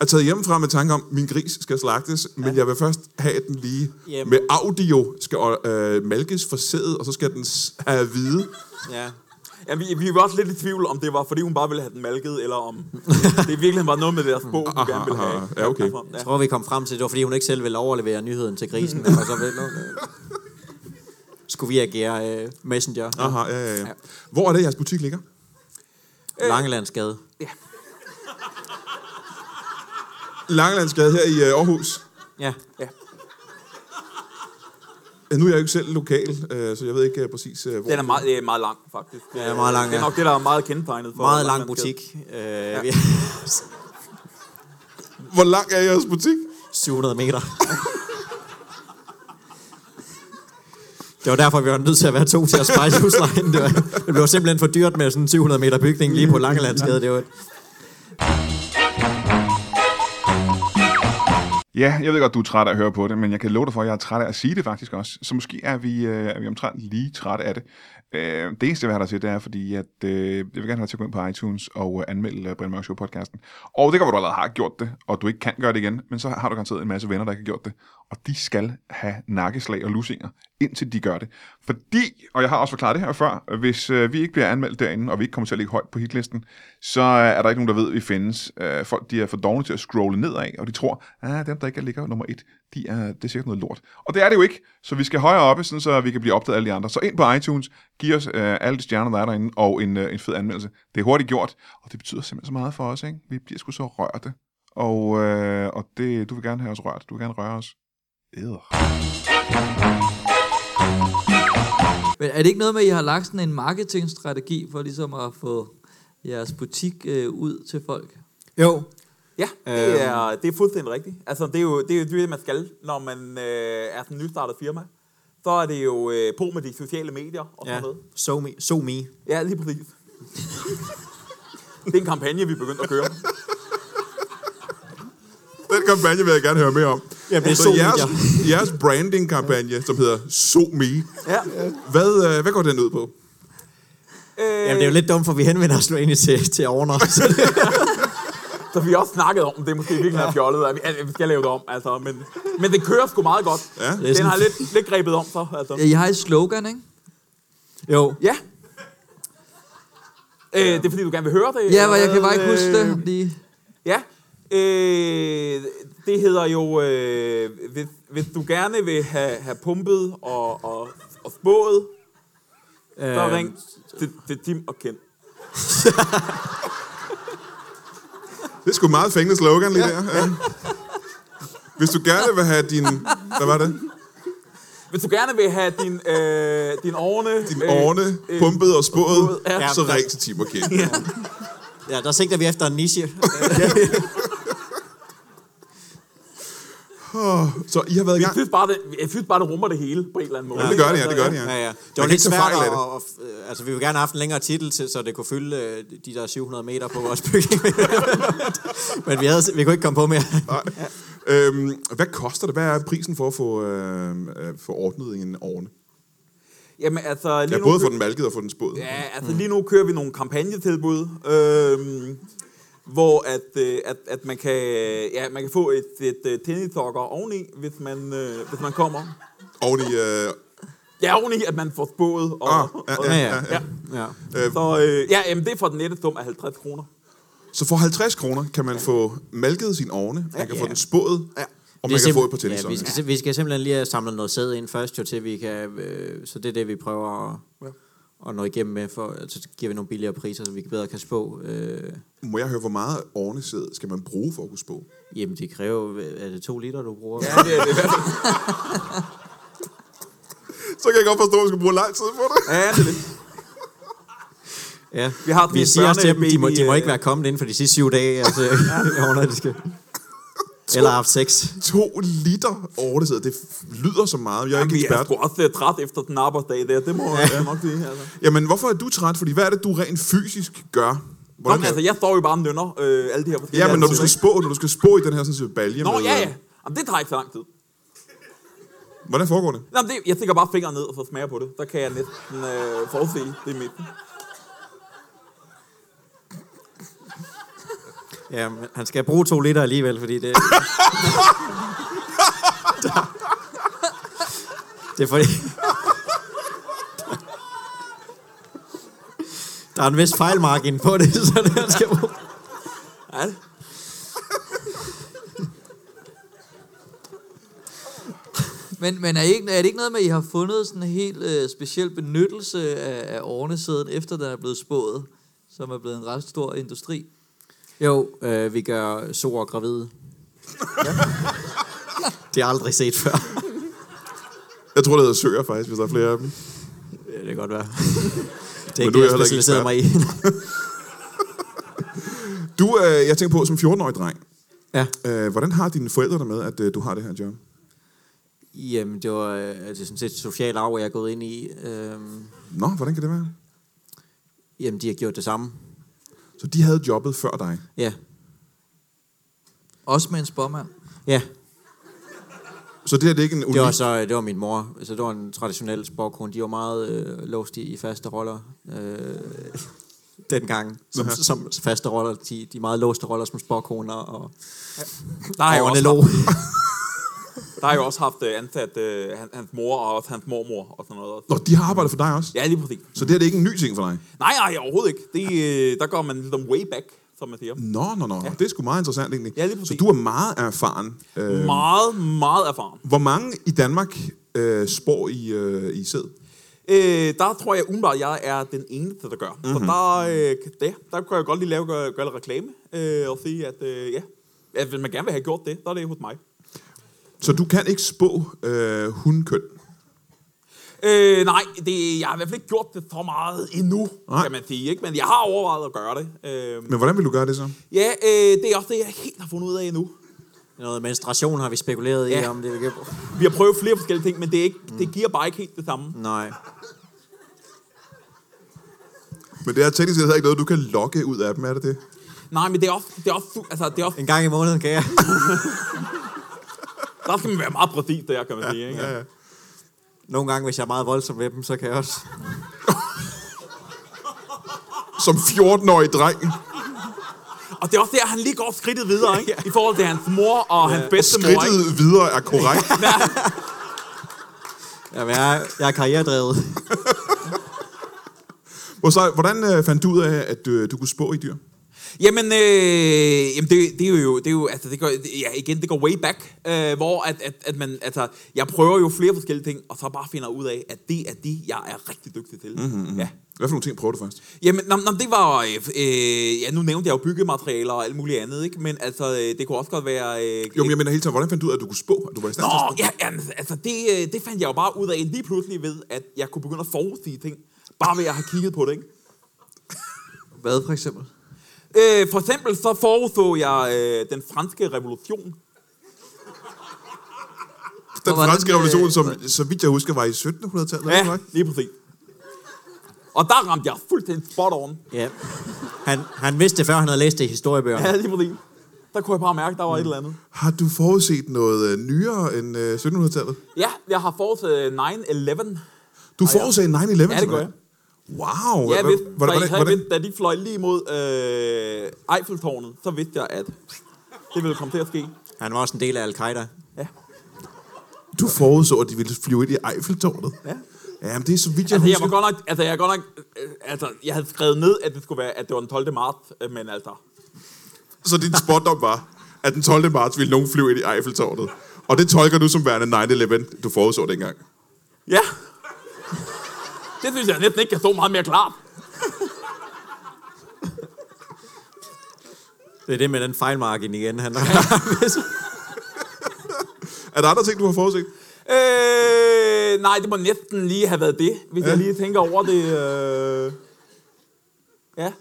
A: er taget hjemmefra med tanke om, min gris skal slagtes, ja. men jeg vil først have at den lige
C: Jamen.
A: med audio, skal øh, malkes for sædet, og så skal den s- have hvide.
C: Ja.
D: Ja, vi, vi var også lidt i tvivl, om det var, fordi hun bare ville have den malket, eller om det i virkeligheden var noget med deres bog, hun gerne ville have.
A: aha. Ja, okay.
D: Altså,
C: Jeg tror, vi kom frem til, det var, fordi hun ikke selv ville overlevere nyheden til grisen. men så ville, øh, skulle vi agere øh, messenger.
A: Aha, ja, ja, ja. Hvor er det, jeres butik ligger?
C: Øh. Langelandsgade.
A: Langelandsgade her i øh, Aarhus.
C: Ja.
D: Ja.
A: Øh, Nu er jeg jo ikke selv lokal, øh, så jeg ved ikke øh, præcis, øh, hvor.
D: Den er meget, øh, meget lang, faktisk.
C: Ja, meget lang,
D: Det er
C: ja.
D: nok det, der er meget kendetegnet for.
C: Meget lang
D: Langelandsgade.
C: butik. Øh, ja.
A: Hvor lang er jeres butik?
C: 700 meter. Det var derfor, vi var nødt til at være to til at spejse huslejen. Det, var, det blev simpelthen for dyrt med sådan en 700 meter bygning lige på Langelandsgade. Det var,
E: Ja, jeg ved godt, du er træt af at høre på det, men jeg kan love dig for, at jeg er træt af at sige det faktisk også. Så måske er vi, øh, er vi omtrent lige træt af det. Øh, det eneste, jeg vil have dig til, det er, fordi at, øh, jeg vil gerne have dig til at gå ind på iTunes og øh, anmelde øh, Brian Mørk Show-podcasten. Og det kan være, du allerede har gjort det, og du ikke kan gøre det igen, men så har du garanteret en masse venner, der ikke har gjort det. Og de skal have nakkeslag og lusinger, indtil de gør det. Fordi, og jeg har også forklaret det her før, hvis øh, vi ikke bliver anmeldt derinde, og vi ikke kommer til at ligge højt på hitlisten, så øh, er der ikke nogen, der ved, at vi findes. Øh, folk de er for dogne til at scrolle nedad, og de tror, at dem, der ikke ligger nummer et, de er, det er sikkert noget lort. Og det er det jo ikke, så vi skal højere oppe, sådan, så vi kan blive opdaget af alle de andre. Så ind på iTunes, giv os øh, alle de stjerner, der er derinde, og en, øh, en fed anmeldelse. Det er hurtigt gjort, og det betyder simpelthen så meget for os. Ikke? Vi bliver sgu så rørte. Og, øh, og det, du vil gerne have os rørt. Du vil gerne røre os. Æder.
B: Men er det ikke noget med, at I har lagt sådan en marketingstrategi for ligesom at få jeres butik øh, ud til folk?
C: Jo,
D: Ja, det
C: Øhm.
D: er, det er fuldstændig rigtigt. Altså, det er jo det, er jo det man skal, når man øh, er sådan en nystartet firma. Så er det jo øh, på med de sociale medier og sådan
C: ja.
D: ja. noget.
C: So me. So me.
D: Ja, lige præcis. det er en kampagne, vi er begyndt at køre.
F: Den kampagne vil jeg gerne høre mere om.
C: Ja, det er
F: så
C: Zoom,
F: jeres, jeres branding-kampagne, som hedder SoMe,
D: Ja.
F: hvad, øh, hvad går den ud på?
D: Øh,
C: Jamen, det er jo lidt dumt, for vi henvender os nu egentlig til, til ovner. Så det,
D: Så vi har også snakket om, det er måske virkelig ja. fjollet, at vi, at vi skal lave det om, altså, men, men det kører sgu meget godt.
F: Ja. Det er
D: Den
C: sådan-
D: har lidt, lidt grebet om så, altså.
B: Ja, I har et slogan, ikke?
C: jo,
D: Ja. Øh, det er fordi, du gerne vil høre det?
B: Ja, men jeg kan
D: eller
B: bare ikke
D: hvad?
B: huske
D: Øh,
B: det lige.
D: Ja. Øh, det hedder jo, øh, hvis, hvis du gerne vil have, have pumpet og, og, og spået, øh. så
C: Øhm.
D: ring til, til Tim og Ken.
F: Det er sgu meget fængende slogan lige der. Ja. Hvis du gerne vil have din... Hvad var det?
D: Hvis du gerne vil have din, øh, din årene... Øh,
F: Din årne pumpet og spået,
D: ja.
F: så ring til Tim og Kjeld.
C: ja, der sigter vi efter en niche.
F: Så I har været i
D: Jeg
F: gang.
D: synes, bare, det, jeg synes bare, det rummer det hele på en eller anden måde.
F: Ja, det gør det, ja, det gør det, ja.
C: Ja, ja. Det var
F: Man kan
C: lidt
F: ikke tage
C: svært
F: fejl af
C: at,
F: det.
C: at, øh, altså vi ville gerne have haft en længere titel, til, så det kunne fylde øh, de der 700 meter på vores bygning. Men vi, havde, vi kunne ikke komme på mere.
F: Nej. Øhm, hvad koster det? Hvad er prisen for at få, øh, øh, få ordnet en årne?
D: Jamen, altså, lige
F: Ja,
D: nu
F: både
D: kø-
F: få den malket og få den spået.
D: Ja, altså lige nu kører vi nogle kampagnetilbud, øhm, hvor at, øh, at, at man, kan, ja, man kan få et, et, et tennistokker oveni, hvis man, øh, hvis man kommer.
F: Oven i... Øh,
D: Ja, oveni, at man får spået. Og,
F: ah, ja,
D: og,
F: ja, ja, ja.
C: ja.
F: Øh,
D: Så øh, ja, jamen, det er for den nette sum af 50 kroner.
F: Så for 50 kroner kan man få malket sin ovne, man kan få den spået, og man
C: Vi er
F: kan
C: simp-
F: få et par
C: ja, vi, skal,
F: tennissokker.
C: sim- vi skal simpelthen lige have samlet noget sæd ind først, jo, til vi kan, øh, så det er det, vi prøver at, at nå igennem med. For, altså, så giver vi nogle billigere priser, så vi bedre kan spå. Øh,
F: Må jeg høre, hvor meget ovnesæd skal man bruge for at kunne spå?
C: jamen, det kræver... øh, Er det to liter, du bruger?
D: Ja, det er det.
F: Så kan jeg godt forstå, at man skal bruge lang tid på det.
D: Ja, det, er det.
C: Ja.
D: Vi har sådan
C: vi
D: en
C: siger også til dem, de må, de må
D: børnebaby,
C: ikke være kommet inden for de sidste syv dage. Altså, ja. det skal. Eller haft sex.
F: To liter ovnesæd, det f- lyder så meget. Jeg er ikke
D: Vi er
F: ekspert.
D: sgu også øh, træt efter den arbejdsdag der. Det må jeg nok sige. Altså.
F: Jamen, hvorfor er du træt? Fordi hvad er det, du rent fysisk gør?
D: Nå,
F: Hvordan
D: men altså,
F: kan...
D: jeg står jo bare og nynner øh, alle de her forskellige...
F: Ja, men når du
D: ting,
F: skal øh.
D: ikke?
F: spå, når du skal spå i den her sådan set balje
D: Nå,
F: med,
D: ja, ja. Jamen, det tager ikke så lang tid.
F: øh, Hvordan foregår det?
D: Nå, men det, jeg stikker bare fingeren ned og så smager på det. Så kan jeg næsten øh, forudse det i midten.
C: Ja, men han skal bruge to liter alligevel, fordi det... det er fordi... Der er en vis fejlmargin på det, så det han skal bruge.
D: Ja, det.
B: Men, men er, I ikke, er det ikke noget med, at I har fundet sådan en helt øh, speciel benyttelse af, af årnesæden, efter den er blevet spået, som er blevet en ret stor industri?
C: Jo, øh, vi gør sår gravide. Det har jeg aldrig set før.
F: Jeg tror, det hedder søger faktisk, hvis der er flere af dem.
C: Ja, det kan godt være. Det er
F: Men
C: ikke
F: du
C: det, jeg
F: er heller ikke
C: specialiserer mig i.
F: Du, øh, jeg tænker på, som 14-årig dreng,
C: ja.
F: øh, hvordan har dine forældre det med, at øh, du har det her job?
C: Jamen, det var øh, det er sådan set social arv, jeg er gået ind i. Øhm,
F: Nå, hvordan kan det være?
C: jamen, de har gjort det samme.
F: Så de havde jobbet før dig.
C: Ja,
B: Også med en spormand.
C: ja.
F: Så det her det er ikke en unik...
C: Det var så øh, det var min mor. Så det var en traditionel sporkone. De var meget øh, låst i, i faste roller. Øh, dengang. Som, som faste roller. De, de meget låste roller som sporkoner og
D: Der har jeg også
C: ornelog.
D: haft, der har jeg også haft øh, ansat øh, han, hans mor og også hans mormor og sådan noget.
F: Nå, de har arbejdet for dig også?
D: Ja, lige præcis.
F: Så det her det er ikke en ny ting for dig?
D: Nej, nej, overhovedet ikke. Det, øh, der går man lidt om way back, som man siger.
F: Nå, nå, nå. Ja. Det er sgu meget interessant egentlig.
D: Ja, lige præcis. Mm.
F: så du er meget erfaren. Øh,
D: Meget, meget erfaren.
F: hvor mange i Danmark øh, spår i, øh, i sæd?
D: Øh, der tror jeg umiddelbart, at jeg er den eneste, der gør. Mm-hmm. Så
F: Mhm.
D: der, øh, kan- ja, der kan jeg godt lige lave, gøre, gøre lidt reklame øh, og sige, at øh, ja, at hvis man gerne vil have gjort det, så er det hos mig.
F: Så du kan ikke spå øh, hundkøn.
D: Øh, nej, det, jeg har i hvert fald ikke gjort det for meget endnu, nej. kan man sige. Ikke? Men jeg har overvejet at gøre det. Øh,
F: Men hvordan vil du gøre det så?
D: ja, øh, det er også det, jeg ikke helt har fundet ud af endnu.
C: Noget menstruation har vi spekuleret ja. i,
D: Ja.
C: om det vil gælde.
D: Vi har prøvet flere forskellige ting, men det, er ikke, mm. det giver bare ikke helt det samme.
C: Nej.
F: Men det er teknisk set ikke noget, du kan lokke ud af dem, er det det?
D: Nej, men det er også... Det er også su- altså, det er også
C: En gang i måneden kan jeg.
D: der skal man være meget præcis, der kan man sige. Ikke?
F: Ja, ja.
C: Nogle gange, hvis jeg er meget voldsom ved dem, så kan jeg også.
F: Som 14-årig dreng.
D: Og det er også der, han lige går skridtet videre, ikke? I forhold til hans mor og ja. hans bedstemor,
F: Skridtet
D: ikke?
F: videre er korrekt.
C: Jamen, jeg, er, jeg er karrieredrevet.
F: Hvor så, hvordan øh, fandt du ud af, at øh, du kunne spå i dyr?
D: Jamen, øh, jamen det, det, er jo, det er jo, altså, det går, det- ja, igen, det går way back, øh, hvor at, at, at man, altså, jeg prøver jo flere forskellige ting, og så bare finder ud af, at det er det, jeg er rigtig dygtig til. Mm-hmm. Ja.
F: Hvad for nogle ting prøvede du først?
D: Jamen, nå, nå, det var, øh, øh, ja, nu nævnte jeg jo byggematerialer og alt muligt andet, ikke? Men altså, øh, det kunne også godt være... Øh,
F: Jo, men jeg mener hele tiden, hvordan fandt du ud af, at du kunne spå? At du var i stand til at
D: Nå, ja, jamen, altså det, øh, det fandt jeg jo bare ud af lige pludselig ved, at jeg kunne begynde at forudsige ting, bare ved at have kigget på det, ikke?
B: Hvad for eksempel?
D: Øh, for eksempel så forudså jeg øh, den franske revolution.
F: Den
B: Og hvordan,
F: franske revolution,
B: øh,
F: som så vidt jeg husker, var i 1700-tallet. eller
D: Ja,
F: hvad?
D: lige præcis. Og der ramte jeg fuldstændig spot on.
C: Ja. Han, han vidste det, før han havde læst det i historiebøgerne.
D: Ja, lige præcis. Der kunne jeg bare mærke, at der var mm. et eller andet.
F: Har du forudset noget øh, nyere end øh, 1700-tallet?
D: Ja, jeg har forudset 9-11.
F: Du forudsagde 9-11?
D: Ja, det gør
F: simpelthen?
D: jeg.
F: Wow!
D: Ja, jeg
F: Hvordan-
D: vidste,
F: hvordan-
D: for jeg
F: hvordan-
D: vidste, da de fløj lige mod øh, Eiffeltårnet, så vidste jeg, at det ville komme til at ske.
C: Han var også en del af Al-Qaida.
F: Du forudså, at de ville flyve ind i Eiffeltårnet?
D: Ja.
F: Jamen, det er så vidt, jeg
D: Altså, jeg
F: husker.
D: var godt nok, altså, jeg er godt nok, øh, altså, jeg havde skrevet ned, at det skulle være, at det var den 12. marts, øh, men altså,
F: Så din spotdom var, at den 12. marts ville nogen flyve ind i Eiffeltårnet. Og det tolker du som værende 9-11, du forudså dengang.
D: ja. Det synes jeg næsten ikke kan stå meget mere klart.
C: Det er det med den fejlmargin igen, han har
F: Er der andre ting, du har forudset?
D: Øh, nej, det må næsten lige have været det, hvis ja. jeg lige tænker over det. Øh. Ja.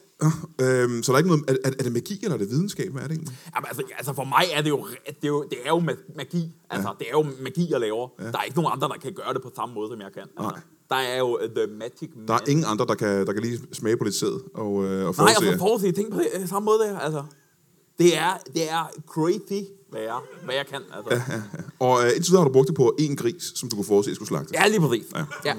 F: Øhm, så er der ikke noget, er, er, er det magi, eller er det videnskab? Hvad er det egentlig?
D: Jamen, altså, ja, altså, for mig er det jo, det er jo, det er jo ma- magi. Altså, ja. det er jo magi, jeg laver. Ja. Der er ikke nogen andre, der kan gøre det på samme måde, som jeg kan. Altså,
F: Nej.
D: der er jo øh, the magic man.
F: Der er ingen andre, der kan, der kan lige smage på lidt sæd og, øh, og
D: Nej, og
F: forudse.
D: så forudse ting på det, øh, samme måde der, altså. Det er, det er crazy, hvad jeg, hvad jeg kan, altså. Ja, ja.
F: og øh, indtil videre har du brugt det på én gris, som du kunne forudse skulle slagtes.
D: ja lige præcis. Ja. ja.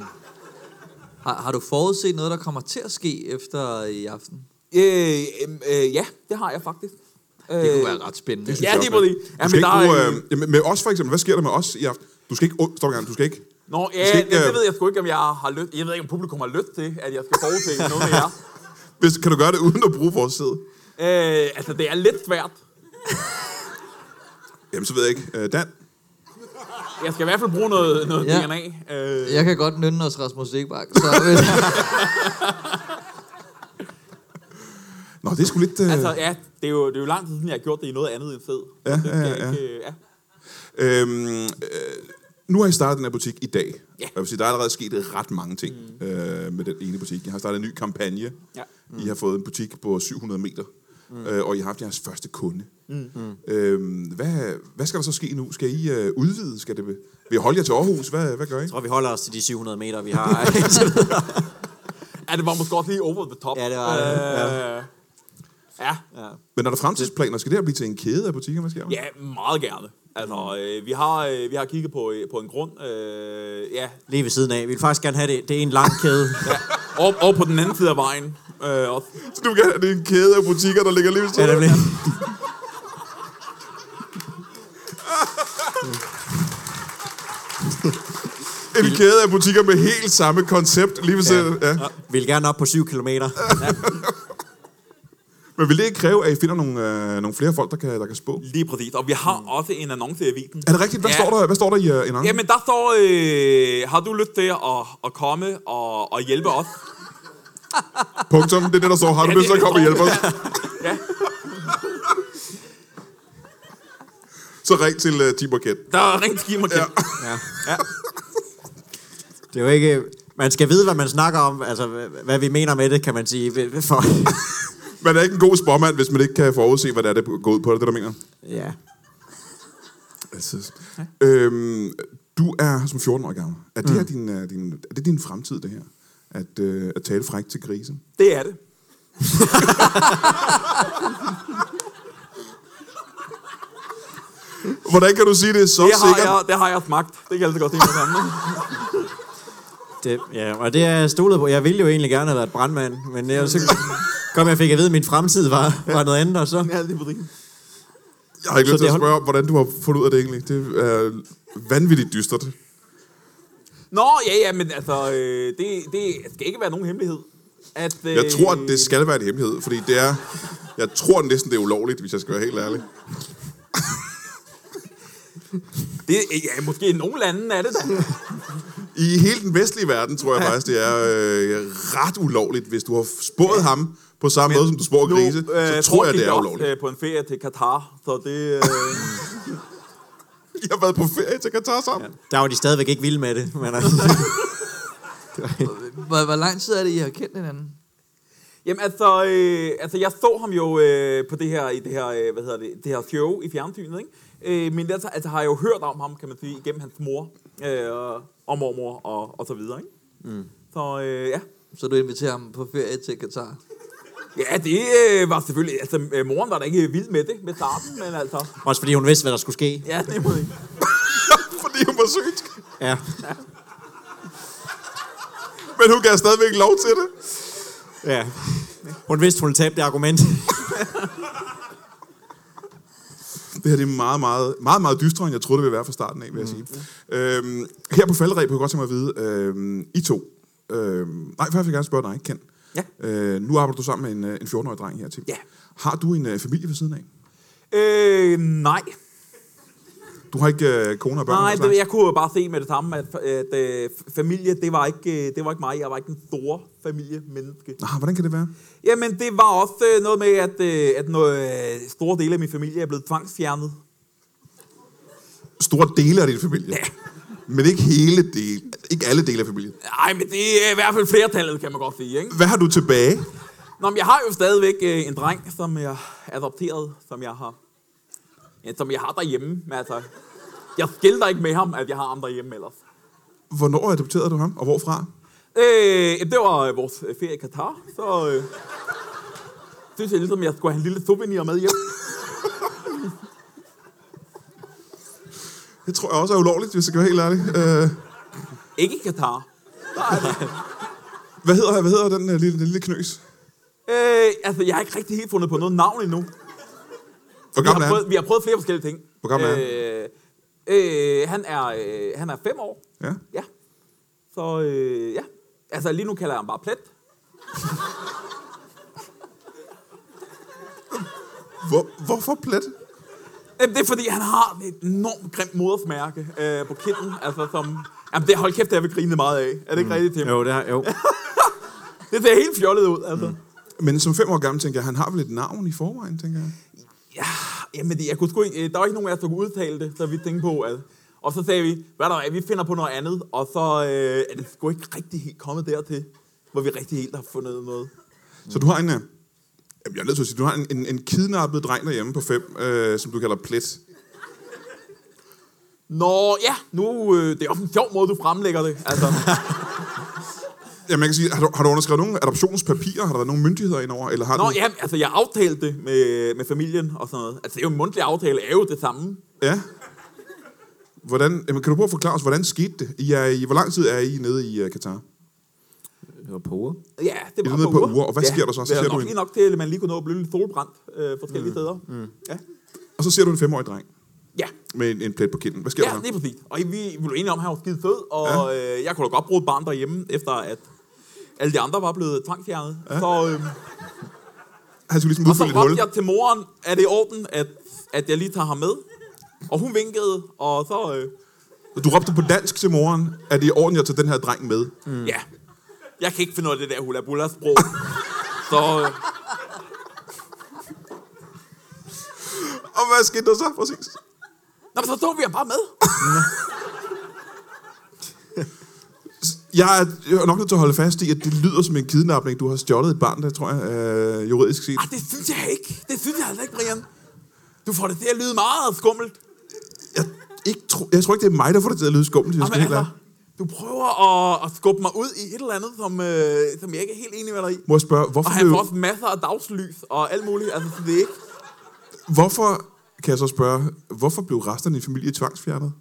B: Har, har du forudset noget, der kommer til at ske efter i aften?
D: Øh, øh, øh, ja, det har jeg faktisk.
B: Det kunne være ret spændende.
D: Ja, lige præcis.
F: Du
D: Ja,
F: skal
D: men
F: ikke
D: der er...
F: bruge,
D: Øh...
F: øh, jamen, med os for eksempel, hvad sker der med os i aften? Du skal ikke, oh, stop en gang, du skal ikke.
D: Nå, ja,
F: skal ikke,
D: det,
F: øh,
D: det ved jeg sgu ikke, om jeg har lyst... Jeg ved ikke, om publikum har lyst til, at jeg skal forudse noget med jer.
F: Hvis, kan du gøre det uden at bruge vores sæd?
D: Øh, altså, det er lidt svært.
F: Jamen, så ved jeg ikke. Øh, Dan?
D: Jeg skal i hvert fald bruge noget, noget
B: Ja.
D: ja. DNA. Øh,
B: Jeg kan godt nynne os Rasmus Seebach, så hvis,
F: Nå, det er sgu lidt... Øh,
D: altså, ja, det er, jo, det er jo lang tid siden, jeg har gjort det i noget andet end fed.
F: Ja,
D: Det skal
F: ja,
D: jeg
F: ja.
D: ikke, øh, ja.
F: Øhm, øh, nu har I startet den her butik i dag.
D: Ja.
F: Og Jeg vil sige, der er allerede sket ret mange ting mm. øh, med den ene butik. Jeg har startet en ny kampagne.
D: Ja.
F: Mm. I har fået en butik på 700 meter. Mm. Øh, og I har haft jeres første kunde. Mm. Øhm, hvad, hvad skal der så ske nu? Skal I øh, udvide? Skal det, vil I holde jer til Aarhus? Hvad, hvad gør I?
C: tror, vi holder os til de 700 meter, vi har.
D: ja, det var måske også lige over the top.
C: Ja, det var det.
D: Øh, ja. ja.
F: Men er der fremtidsplaner? Skal det her blive til en kæde af butikker? Hvad sker der?
D: Ja, meget gerne. Altså, øh, vi, har, øh, vi har kigget på, øh, på en grund. Øh, ja.
C: Lige ved siden af. Vi vil faktisk gerne have det. Det er en lang kæde.
D: ja. Og, og på den anden side af vejen. Øh, også.
F: Så du kan have det er en kæde af butikker, der ligger lige ved
C: Ja,
F: siden. af.
C: nemlig.
F: En kæde af butikker med helt samme koncept lige ved siden. Ja. Ja.
C: Vi vil gerne op på 7 km.
F: Men vil det ikke kræve, at I finder nogle, øh, nogle flere folk, der kan, der kan spå?
D: Lige præcis. Og vi har mm. også en annonce i avisen.
F: Er det rigtigt? Hvad, ja.
D: Ja.
F: står, der, hvad står der i uh, en anden?
D: Jamen, der står, øh, har du lyst til at, at komme og, og hjælpe os?
F: Punktum, det er det, der står. Har du
D: Ja,
F: lyst
D: det-
F: til at komme og hjælpe os?
D: Ja.
F: Så ring til uh, Tim Marquette.
D: Der er rent skimmer til.
F: Ja.
D: Ja. ja.
C: Det er jo ikke... Man skal vide, hvad man snakker om, altså hvad- hvad vi mener med det, kan man sige. For,
F: Man er ikke en god spormand, hvis man ikke kan forudse, hvad det er, det går ud på. Er det det, du mener?
C: ja.
F: Altså. Øhm, du er som 14 år gammel. Er det, her din, øh, din, er det din fremtid, det her? At, øh, at tale frækt til grisen?
D: Det er det.
F: Hvordan kan du sige det så
D: Det har,
F: sikkert?
D: jeg, det har jeg smagt. Det kan jeg altid godt tænke mig sammen.
C: Det, ja, og det er jeg stolet på. Jeg ville jo egentlig gerne have været brandmand, men jeg, så kom jeg og fik at vide, at min fremtid var, var noget andet, og så...
D: Ja, det er præcis.
F: Jeg har ikke
C: Så
F: lyst til
C: det
F: at
C: hold-
F: spørge om, hvordan du har fundet ud af det egentlig. Det er vanvittigt dystert.
D: Nå, ja, ja, men altså, øh, det, det skal ikke være nogen hemmelighed. At, øh,
F: Jeg tror, at det skal være en hemmelighed, fordi det er... Jeg tror næsten, det er ulovligt, hvis jeg skal være helt ærlig.
D: det... Ja, måske i nogle lande er det da.
F: I hele den vestlige verden tror jeg faktisk, det er øh, ret ulovligt. Hvis du har spået ham på samme måde, som du spår grise,
D: øh,
F: så tror jeg,
D: foregik
F: det er
D: også,
F: ulovligt.
D: Øh, på en ferie til Katar, så det... Øh,
F: Jeg har været på ferie til Katar sammen.
C: Der var de stadigvæk ikke vilde med det, men altså,
B: Hvor, hvor lang tid er det, I har kendt hinanden?
D: Jamen altså, øh, altså, jeg så ham jo øh, på det her, i det her, øh, hvad hedder det, det her show i fjernsynet, ikke? Øh, men altså, altså, har jeg jo hørt om ham, kan man sige, igennem hans mor, øh, og mormor og, og så videre, ikke? Mm. Så øh, ja.
B: Så du inviterer ham på ferie til Katar?
D: Ja, det øh, var selvfølgelig, altså øh, moren var da ikke vild med det, med starten, men altså,
C: også fordi hun vidste, hvad der skulle ske.
D: ja, det må ikke.
F: Fordi hun var synsk.
C: Ja.
F: Men hun gav stadigvæk lov til det.
C: ja. Hun vidste, hun tabte det argument.
F: Det her det er meget, meget, meget, meget dystere, end jeg troede, det ville være fra starten af, vil jeg
D: Mm.
F: sige. Øhm, her på faldreb kunne jeg godt tænke mig at vide, øhm, I to. Øhm, nej, først vil jeg gerne spørge dig, Ken.
D: Ja.
F: Øh, nu arbejder du sammen med en, øh, en 14-årig dreng her til.
D: Ja.
F: Har du en øh, familie ved siden af?
D: Øh, nej.
F: Du har ikke øh, kone og børn?
D: Nej,
F: hos dig?
D: det, jeg kunne jo bare se med det samme, at, at øh, familie, det var, ikke, øh, det var ikke mig. Jeg var ikke den store familiemenneske.
F: Nå, hvordan kan det være?
D: Jamen, det var også øh, noget med, at, øh, at noget, øh, store dele af min familie er blevet tvangsfjernet.
F: Store dele af din familie. Ja. Men ikke hele del, ikke alle dele af familien.
D: Nej, men det er i hvert fald flertallet, kan man godt sige, ikke?
F: Hvad har du tilbage?
D: Nå, men jeg har jo stadigvæk øh, en dreng, som jeg er adopteret, som jeg har, ja, som jeg har derhjemme. Men altså, jeg skilter ikke med ham, at jeg har ham derhjemme ellers.
F: Hvornår adopterede du ham, og hvorfra?
D: Øh, jamen, det var øh, vores øh, ferie i Katar, så øh, synes jeg ligesom, jeg skulle have en lille souvenir med hjem.
F: Det tror jeg også er ulovligt, hvis jeg skal være helt ærlig. Øh,
D: Ikke i Katar.
F: hvad, hedder, hvad hedder den øh, lille, den lille knøs?
D: Øh, altså, jeg har ikke rigtig helt fundet på noget navn endnu.
F: Hvor
D: Vi
F: gammel
D: har,
F: er han?
D: prøvet, vi har prøvet flere forskellige ting.
F: Hvor gammel er han?
D: øh, øh, han? Er, øh, han er fem år.
F: Ja.
D: Ja. Så øh, ja. Altså lige nu kalder jeg ham bare plet.
F: Hvor, hvorfor plet?
D: Jamen, det er fordi, han har et enormt grimt modersmærke øh, på kinden. Altså som... Jamen det hold kæft, det har vi grinet meget af. Er det ikke mm. rigtigt, Tim? Jo.
C: Jo, det har, jo.
D: Det ser helt fjollet ud, altså. Mm.
F: Men som fem år gammel, tænker jeg, han har vel et navn i forvejen, tænker jeg.
D: Ja, jamen det, jeg kunne sgu ikke, øh, der var ikke nogen af os, der kunne udtale det, så vi tænkte på, at... Og så sagde vi, hvad der er, vi finder på noget andet, og så øh, er det sgu ikke rigtig helt kommet dertil, hvor vi rigtig helt har fundet noget.
F: Så du har en... øh, Jamen, jeg er nødt til at sige, du har en, en, en kidnappet dreng derhjemme på fem, øh, som du kalder plet.
D: Nå, ja, nu, øh, det er også en sjov måde, du fremlægger det. Altså,
F: Ja, man kan sige, har du, har du underskrevet nogle adoptionspapirer? Har der været nogle myndigheder indover? Eller har
D: nå,
F: du...
D: ja, altså, jeg aftalte det med, med familien og sådan noget. Altså, det er jo en mundtlig aftale, er jo det samme.
F: ja. Hvordan, jamen, kan du prøve at forklare os, hvordan skete det? I er, i, hvor lang tid er I nede i uh, Katar?
C: Det var poger.
D: Ja, det
F: er
D: var
F: nede på uger, og hvad sker der så? Så
D: det er
F: ser du
D: nok
F: en-
D: lige nok til, at man lige kunne nå at blive lidt solbrændt øh, forskellige mm. steder. Mm. Ja,
F: Og så ser du en femårig dreng
D: ja.
F: med en, en plet på kinden. Hvad sker
D: ja
F: der så?
D: lige præcis. Og vi vi blev enige om, at han var skide fed, og ja. øh, jeg kunne da godt bruge et barn derhjemme, efter at alle de andre var blevet tvangsfjernet. Ja. Så, øh,
F: Han skulle ligesom
D: og så
F: udfylde et hul.
D: råbte jeg til moren, er det i orden, at, at jeg lige tager ham med? Og hun vinkede, og så... Øh,
F: Du råbte på dansk til moren, at det er i orden, jeg tager den her dreng med.
D: Mm. Ja. Jeg kan ikke finde ud af det der hula bulla sprog. så øh,
F: Og hvad skete der så, præcis?
D: Nå, men så tog vi ham bare med.
F: Jeg er jeg er nok nødt til at holde fast i, at det lyder som en kidnapning. Du har stjålet et barn, det tror jeg, øh, juridisk set.
D: Ah, det synes jeg ikke. Det synes jeg altså ikke, Brian. Du får det til at lyde meget skummelt.
F: Jeg, ikke tro, jeg tror ikke, det er mig, der får det til at lyde skummelt. Jeg
D: Jamen,
F: skal helt
D: altså,
F: altså.
D: du prøver at, at skubbe mig ud i et eller andet, som, øh, som jeg ikke er helt enig med dig i.
F: Må jeg spørge, hvorfor,
D: Og han får
F: blev,
D: også masser af dagslys og alt muligt. Altså, så det er ikke...
F: hvorfor, kan jeg så spørge, hvorfor blev resterne i familie tvangsfjernet?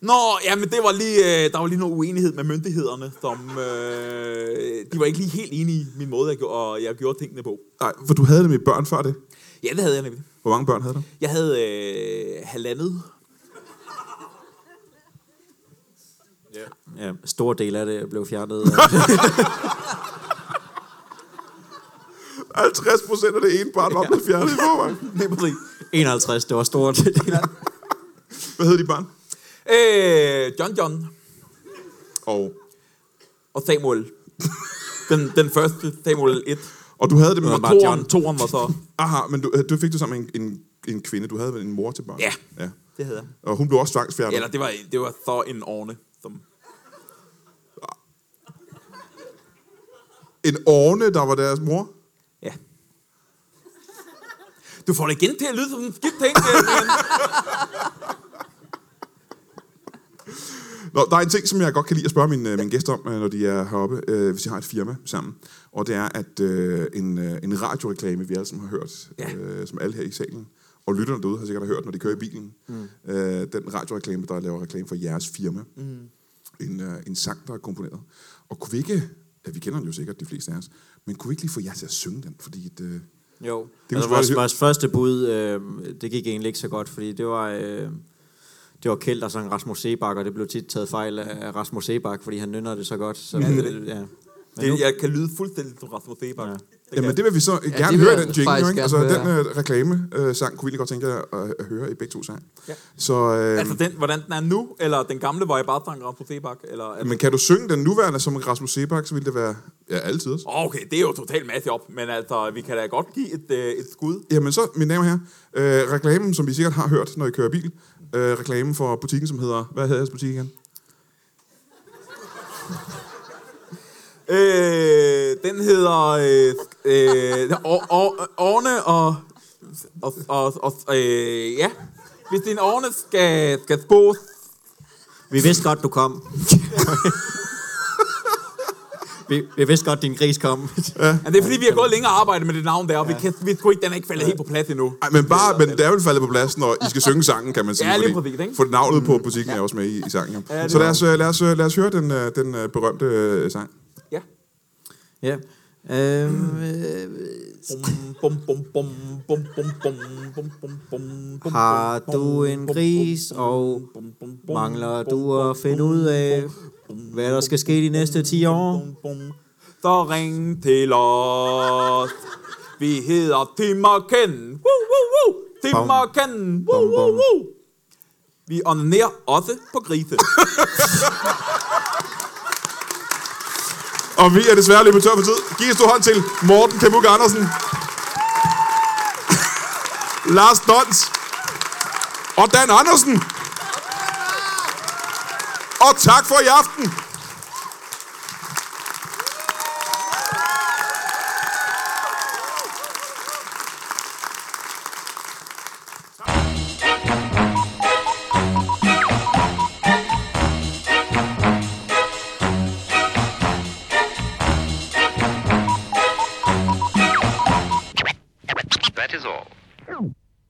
D: Nå, ja, men det var lige, øh, der var lige noget uenighed med myndighederne, som øh, de var ikke lige helt enige i min måde, jeg gjorde, og jeg gjorde tingene på.
F: Nej, for du havde det med børn før det.
D: Ja, det havde jeg nemlig.
F: Hvor mange børn havde du?
D: Jeg havde øh, halvandet.
C: Ja, stor del af det blev fjernet.
F: 50 procent af det ene barn var blevet fjernet i forvejen.
D: Det er præcis.
C: 51, det var stor del af det.
F: Hvad hed de barn?
D: Øh, John John
F: Og,
D: og Samuel. Den, den første, Samuel 1.
F: og du havde det med...
D: Og
C: bare
D: toren,
C: John.
D: toren var så...
F: Aha, men du, du fik det sammen med en, en, en kvinde. Du havde vel en mor til barn?
D: Ja.
F: ja.
D: Det havde jeg.
F: Og hun blev også tvangsfjernet.
D: Eller det var, det var så en orne, som...
F: En orne, der var deres mor.
D: Ja. Du får det igen til at lyde som en skidt ting. øh, men-
F: Nå, der er en ting, som jeg godt kan lide at spørge mine, øh, mine gæster om, øh, når de er heroppe, øh, hvis de har et firma sammen. Og det er, at øh, en, øh, en radioreklame, vi alle sammen har hørt,
D: Ja.
F: øh, som alle her i salen, og lytterne derude har sikkert hørt, når de kører i bilen, mm. øh, den radioreklame, der laver reklame for jeres firma. Mm. En, øh, en sang, der er komponeret. Og kunne vi ikke, ja, vi kender den jo sikkert, de fleste af os, men kunne vi ikke lige få jer til at synge den? Fordi et, øh,
C: Jo,
F: kunne
C: det altså,
F: sgu
C: vores,
F: være-
C: vores første bud, øh, det gik egentlig ikke så godt, fordi det var, øh, det var Kjeld, der sang Rasmus Sebak, og det blev tit taget fejl af Rasmus Sebak, fordi han nynner det så godt. Så, ja,
D: det er det.
C: ja. Men nu,
D: Det, jeg kan lyde fuldstændig som Rasmus Sebak.
C: Ja.
D: Ja.
F: jamen det vil vi så gerne
B: det vil
F: høre
B: jeg
F: den jingle,
B: faktisk
F: jo, ikke? Altså
B: gerne
F: den øh, reklamesang kunne vi lige godt tænke jer at, at høre i begge to sang. Ja. Så, øh,
D: Altså den, hvordan den er nu, eller den gamle, hvor jeg bare sang Rasmus Sebak, eller... Altså,
F: Men kan du synge den nuværende som Rasmus Sebak, så ville det være... Ja, altid også.
D: Åh, okay, det er jo totalt masse op, men altså, vi kan da godt give et, øh, et skud.
F: Jamen så, mine damer her, øh, reklamen, som vi sikkert har hørt, når I kører bil. Øh, reklamen for butikken, som hedder... Hvad hedder jeres butik igen?
D: Øh, den hedder... Øh, øh, or, or, orne og... og, og, og øh, ja, hvis din orne skal, skal spås...
C: vi vidste godt, du kom. vi, vi vidste godt, din gris kom.
D: Ja, det er fordi, vi har gået længere og arbejdet med det navn der, og vi, kan, vi tror ikke, den er ikke faldet helt på plads endnu.
F: Ej, men bare, men det er vel faldet på plads, når I skal synge sangen, kan man sige.
D: Ja, lige
F: fordi-
D: præcis, ikke?
F: For navnet på butikken er også med i, i sangen. jo. så lad os, øh, lad, os, øh, lad os høre den, øh, den øh, berømte øh, sang.
D: Ja.
C: ja. Øhm, øh,
D: Bum, bum, bum, bum, bum, bum, bum, bum, bum, bum,
C: Har
D: bum,
C: du en
D: bum,
C: gris,
D: bum,
C: og
D: bum, bum, bum,
C: mangler
D: bum,
C: du at finde ud af, hvad der skal ske de næste 10 år?
D: Bum, bum. Så ring til os. Vi hedder Tim og Ken. Woo, woo, woo. Tim
C: Bum.
D: og Ken. Woo,
C: Bum,
D: woo,
C: bum.
D: woo. Vi onanerer også på grise.
F: Og vi er desværre løbet tør for tid. Giv en stor hånd til Morten Kemuk Andersen. Lars Dons. Og Dan Andersen. Og tak for i aften.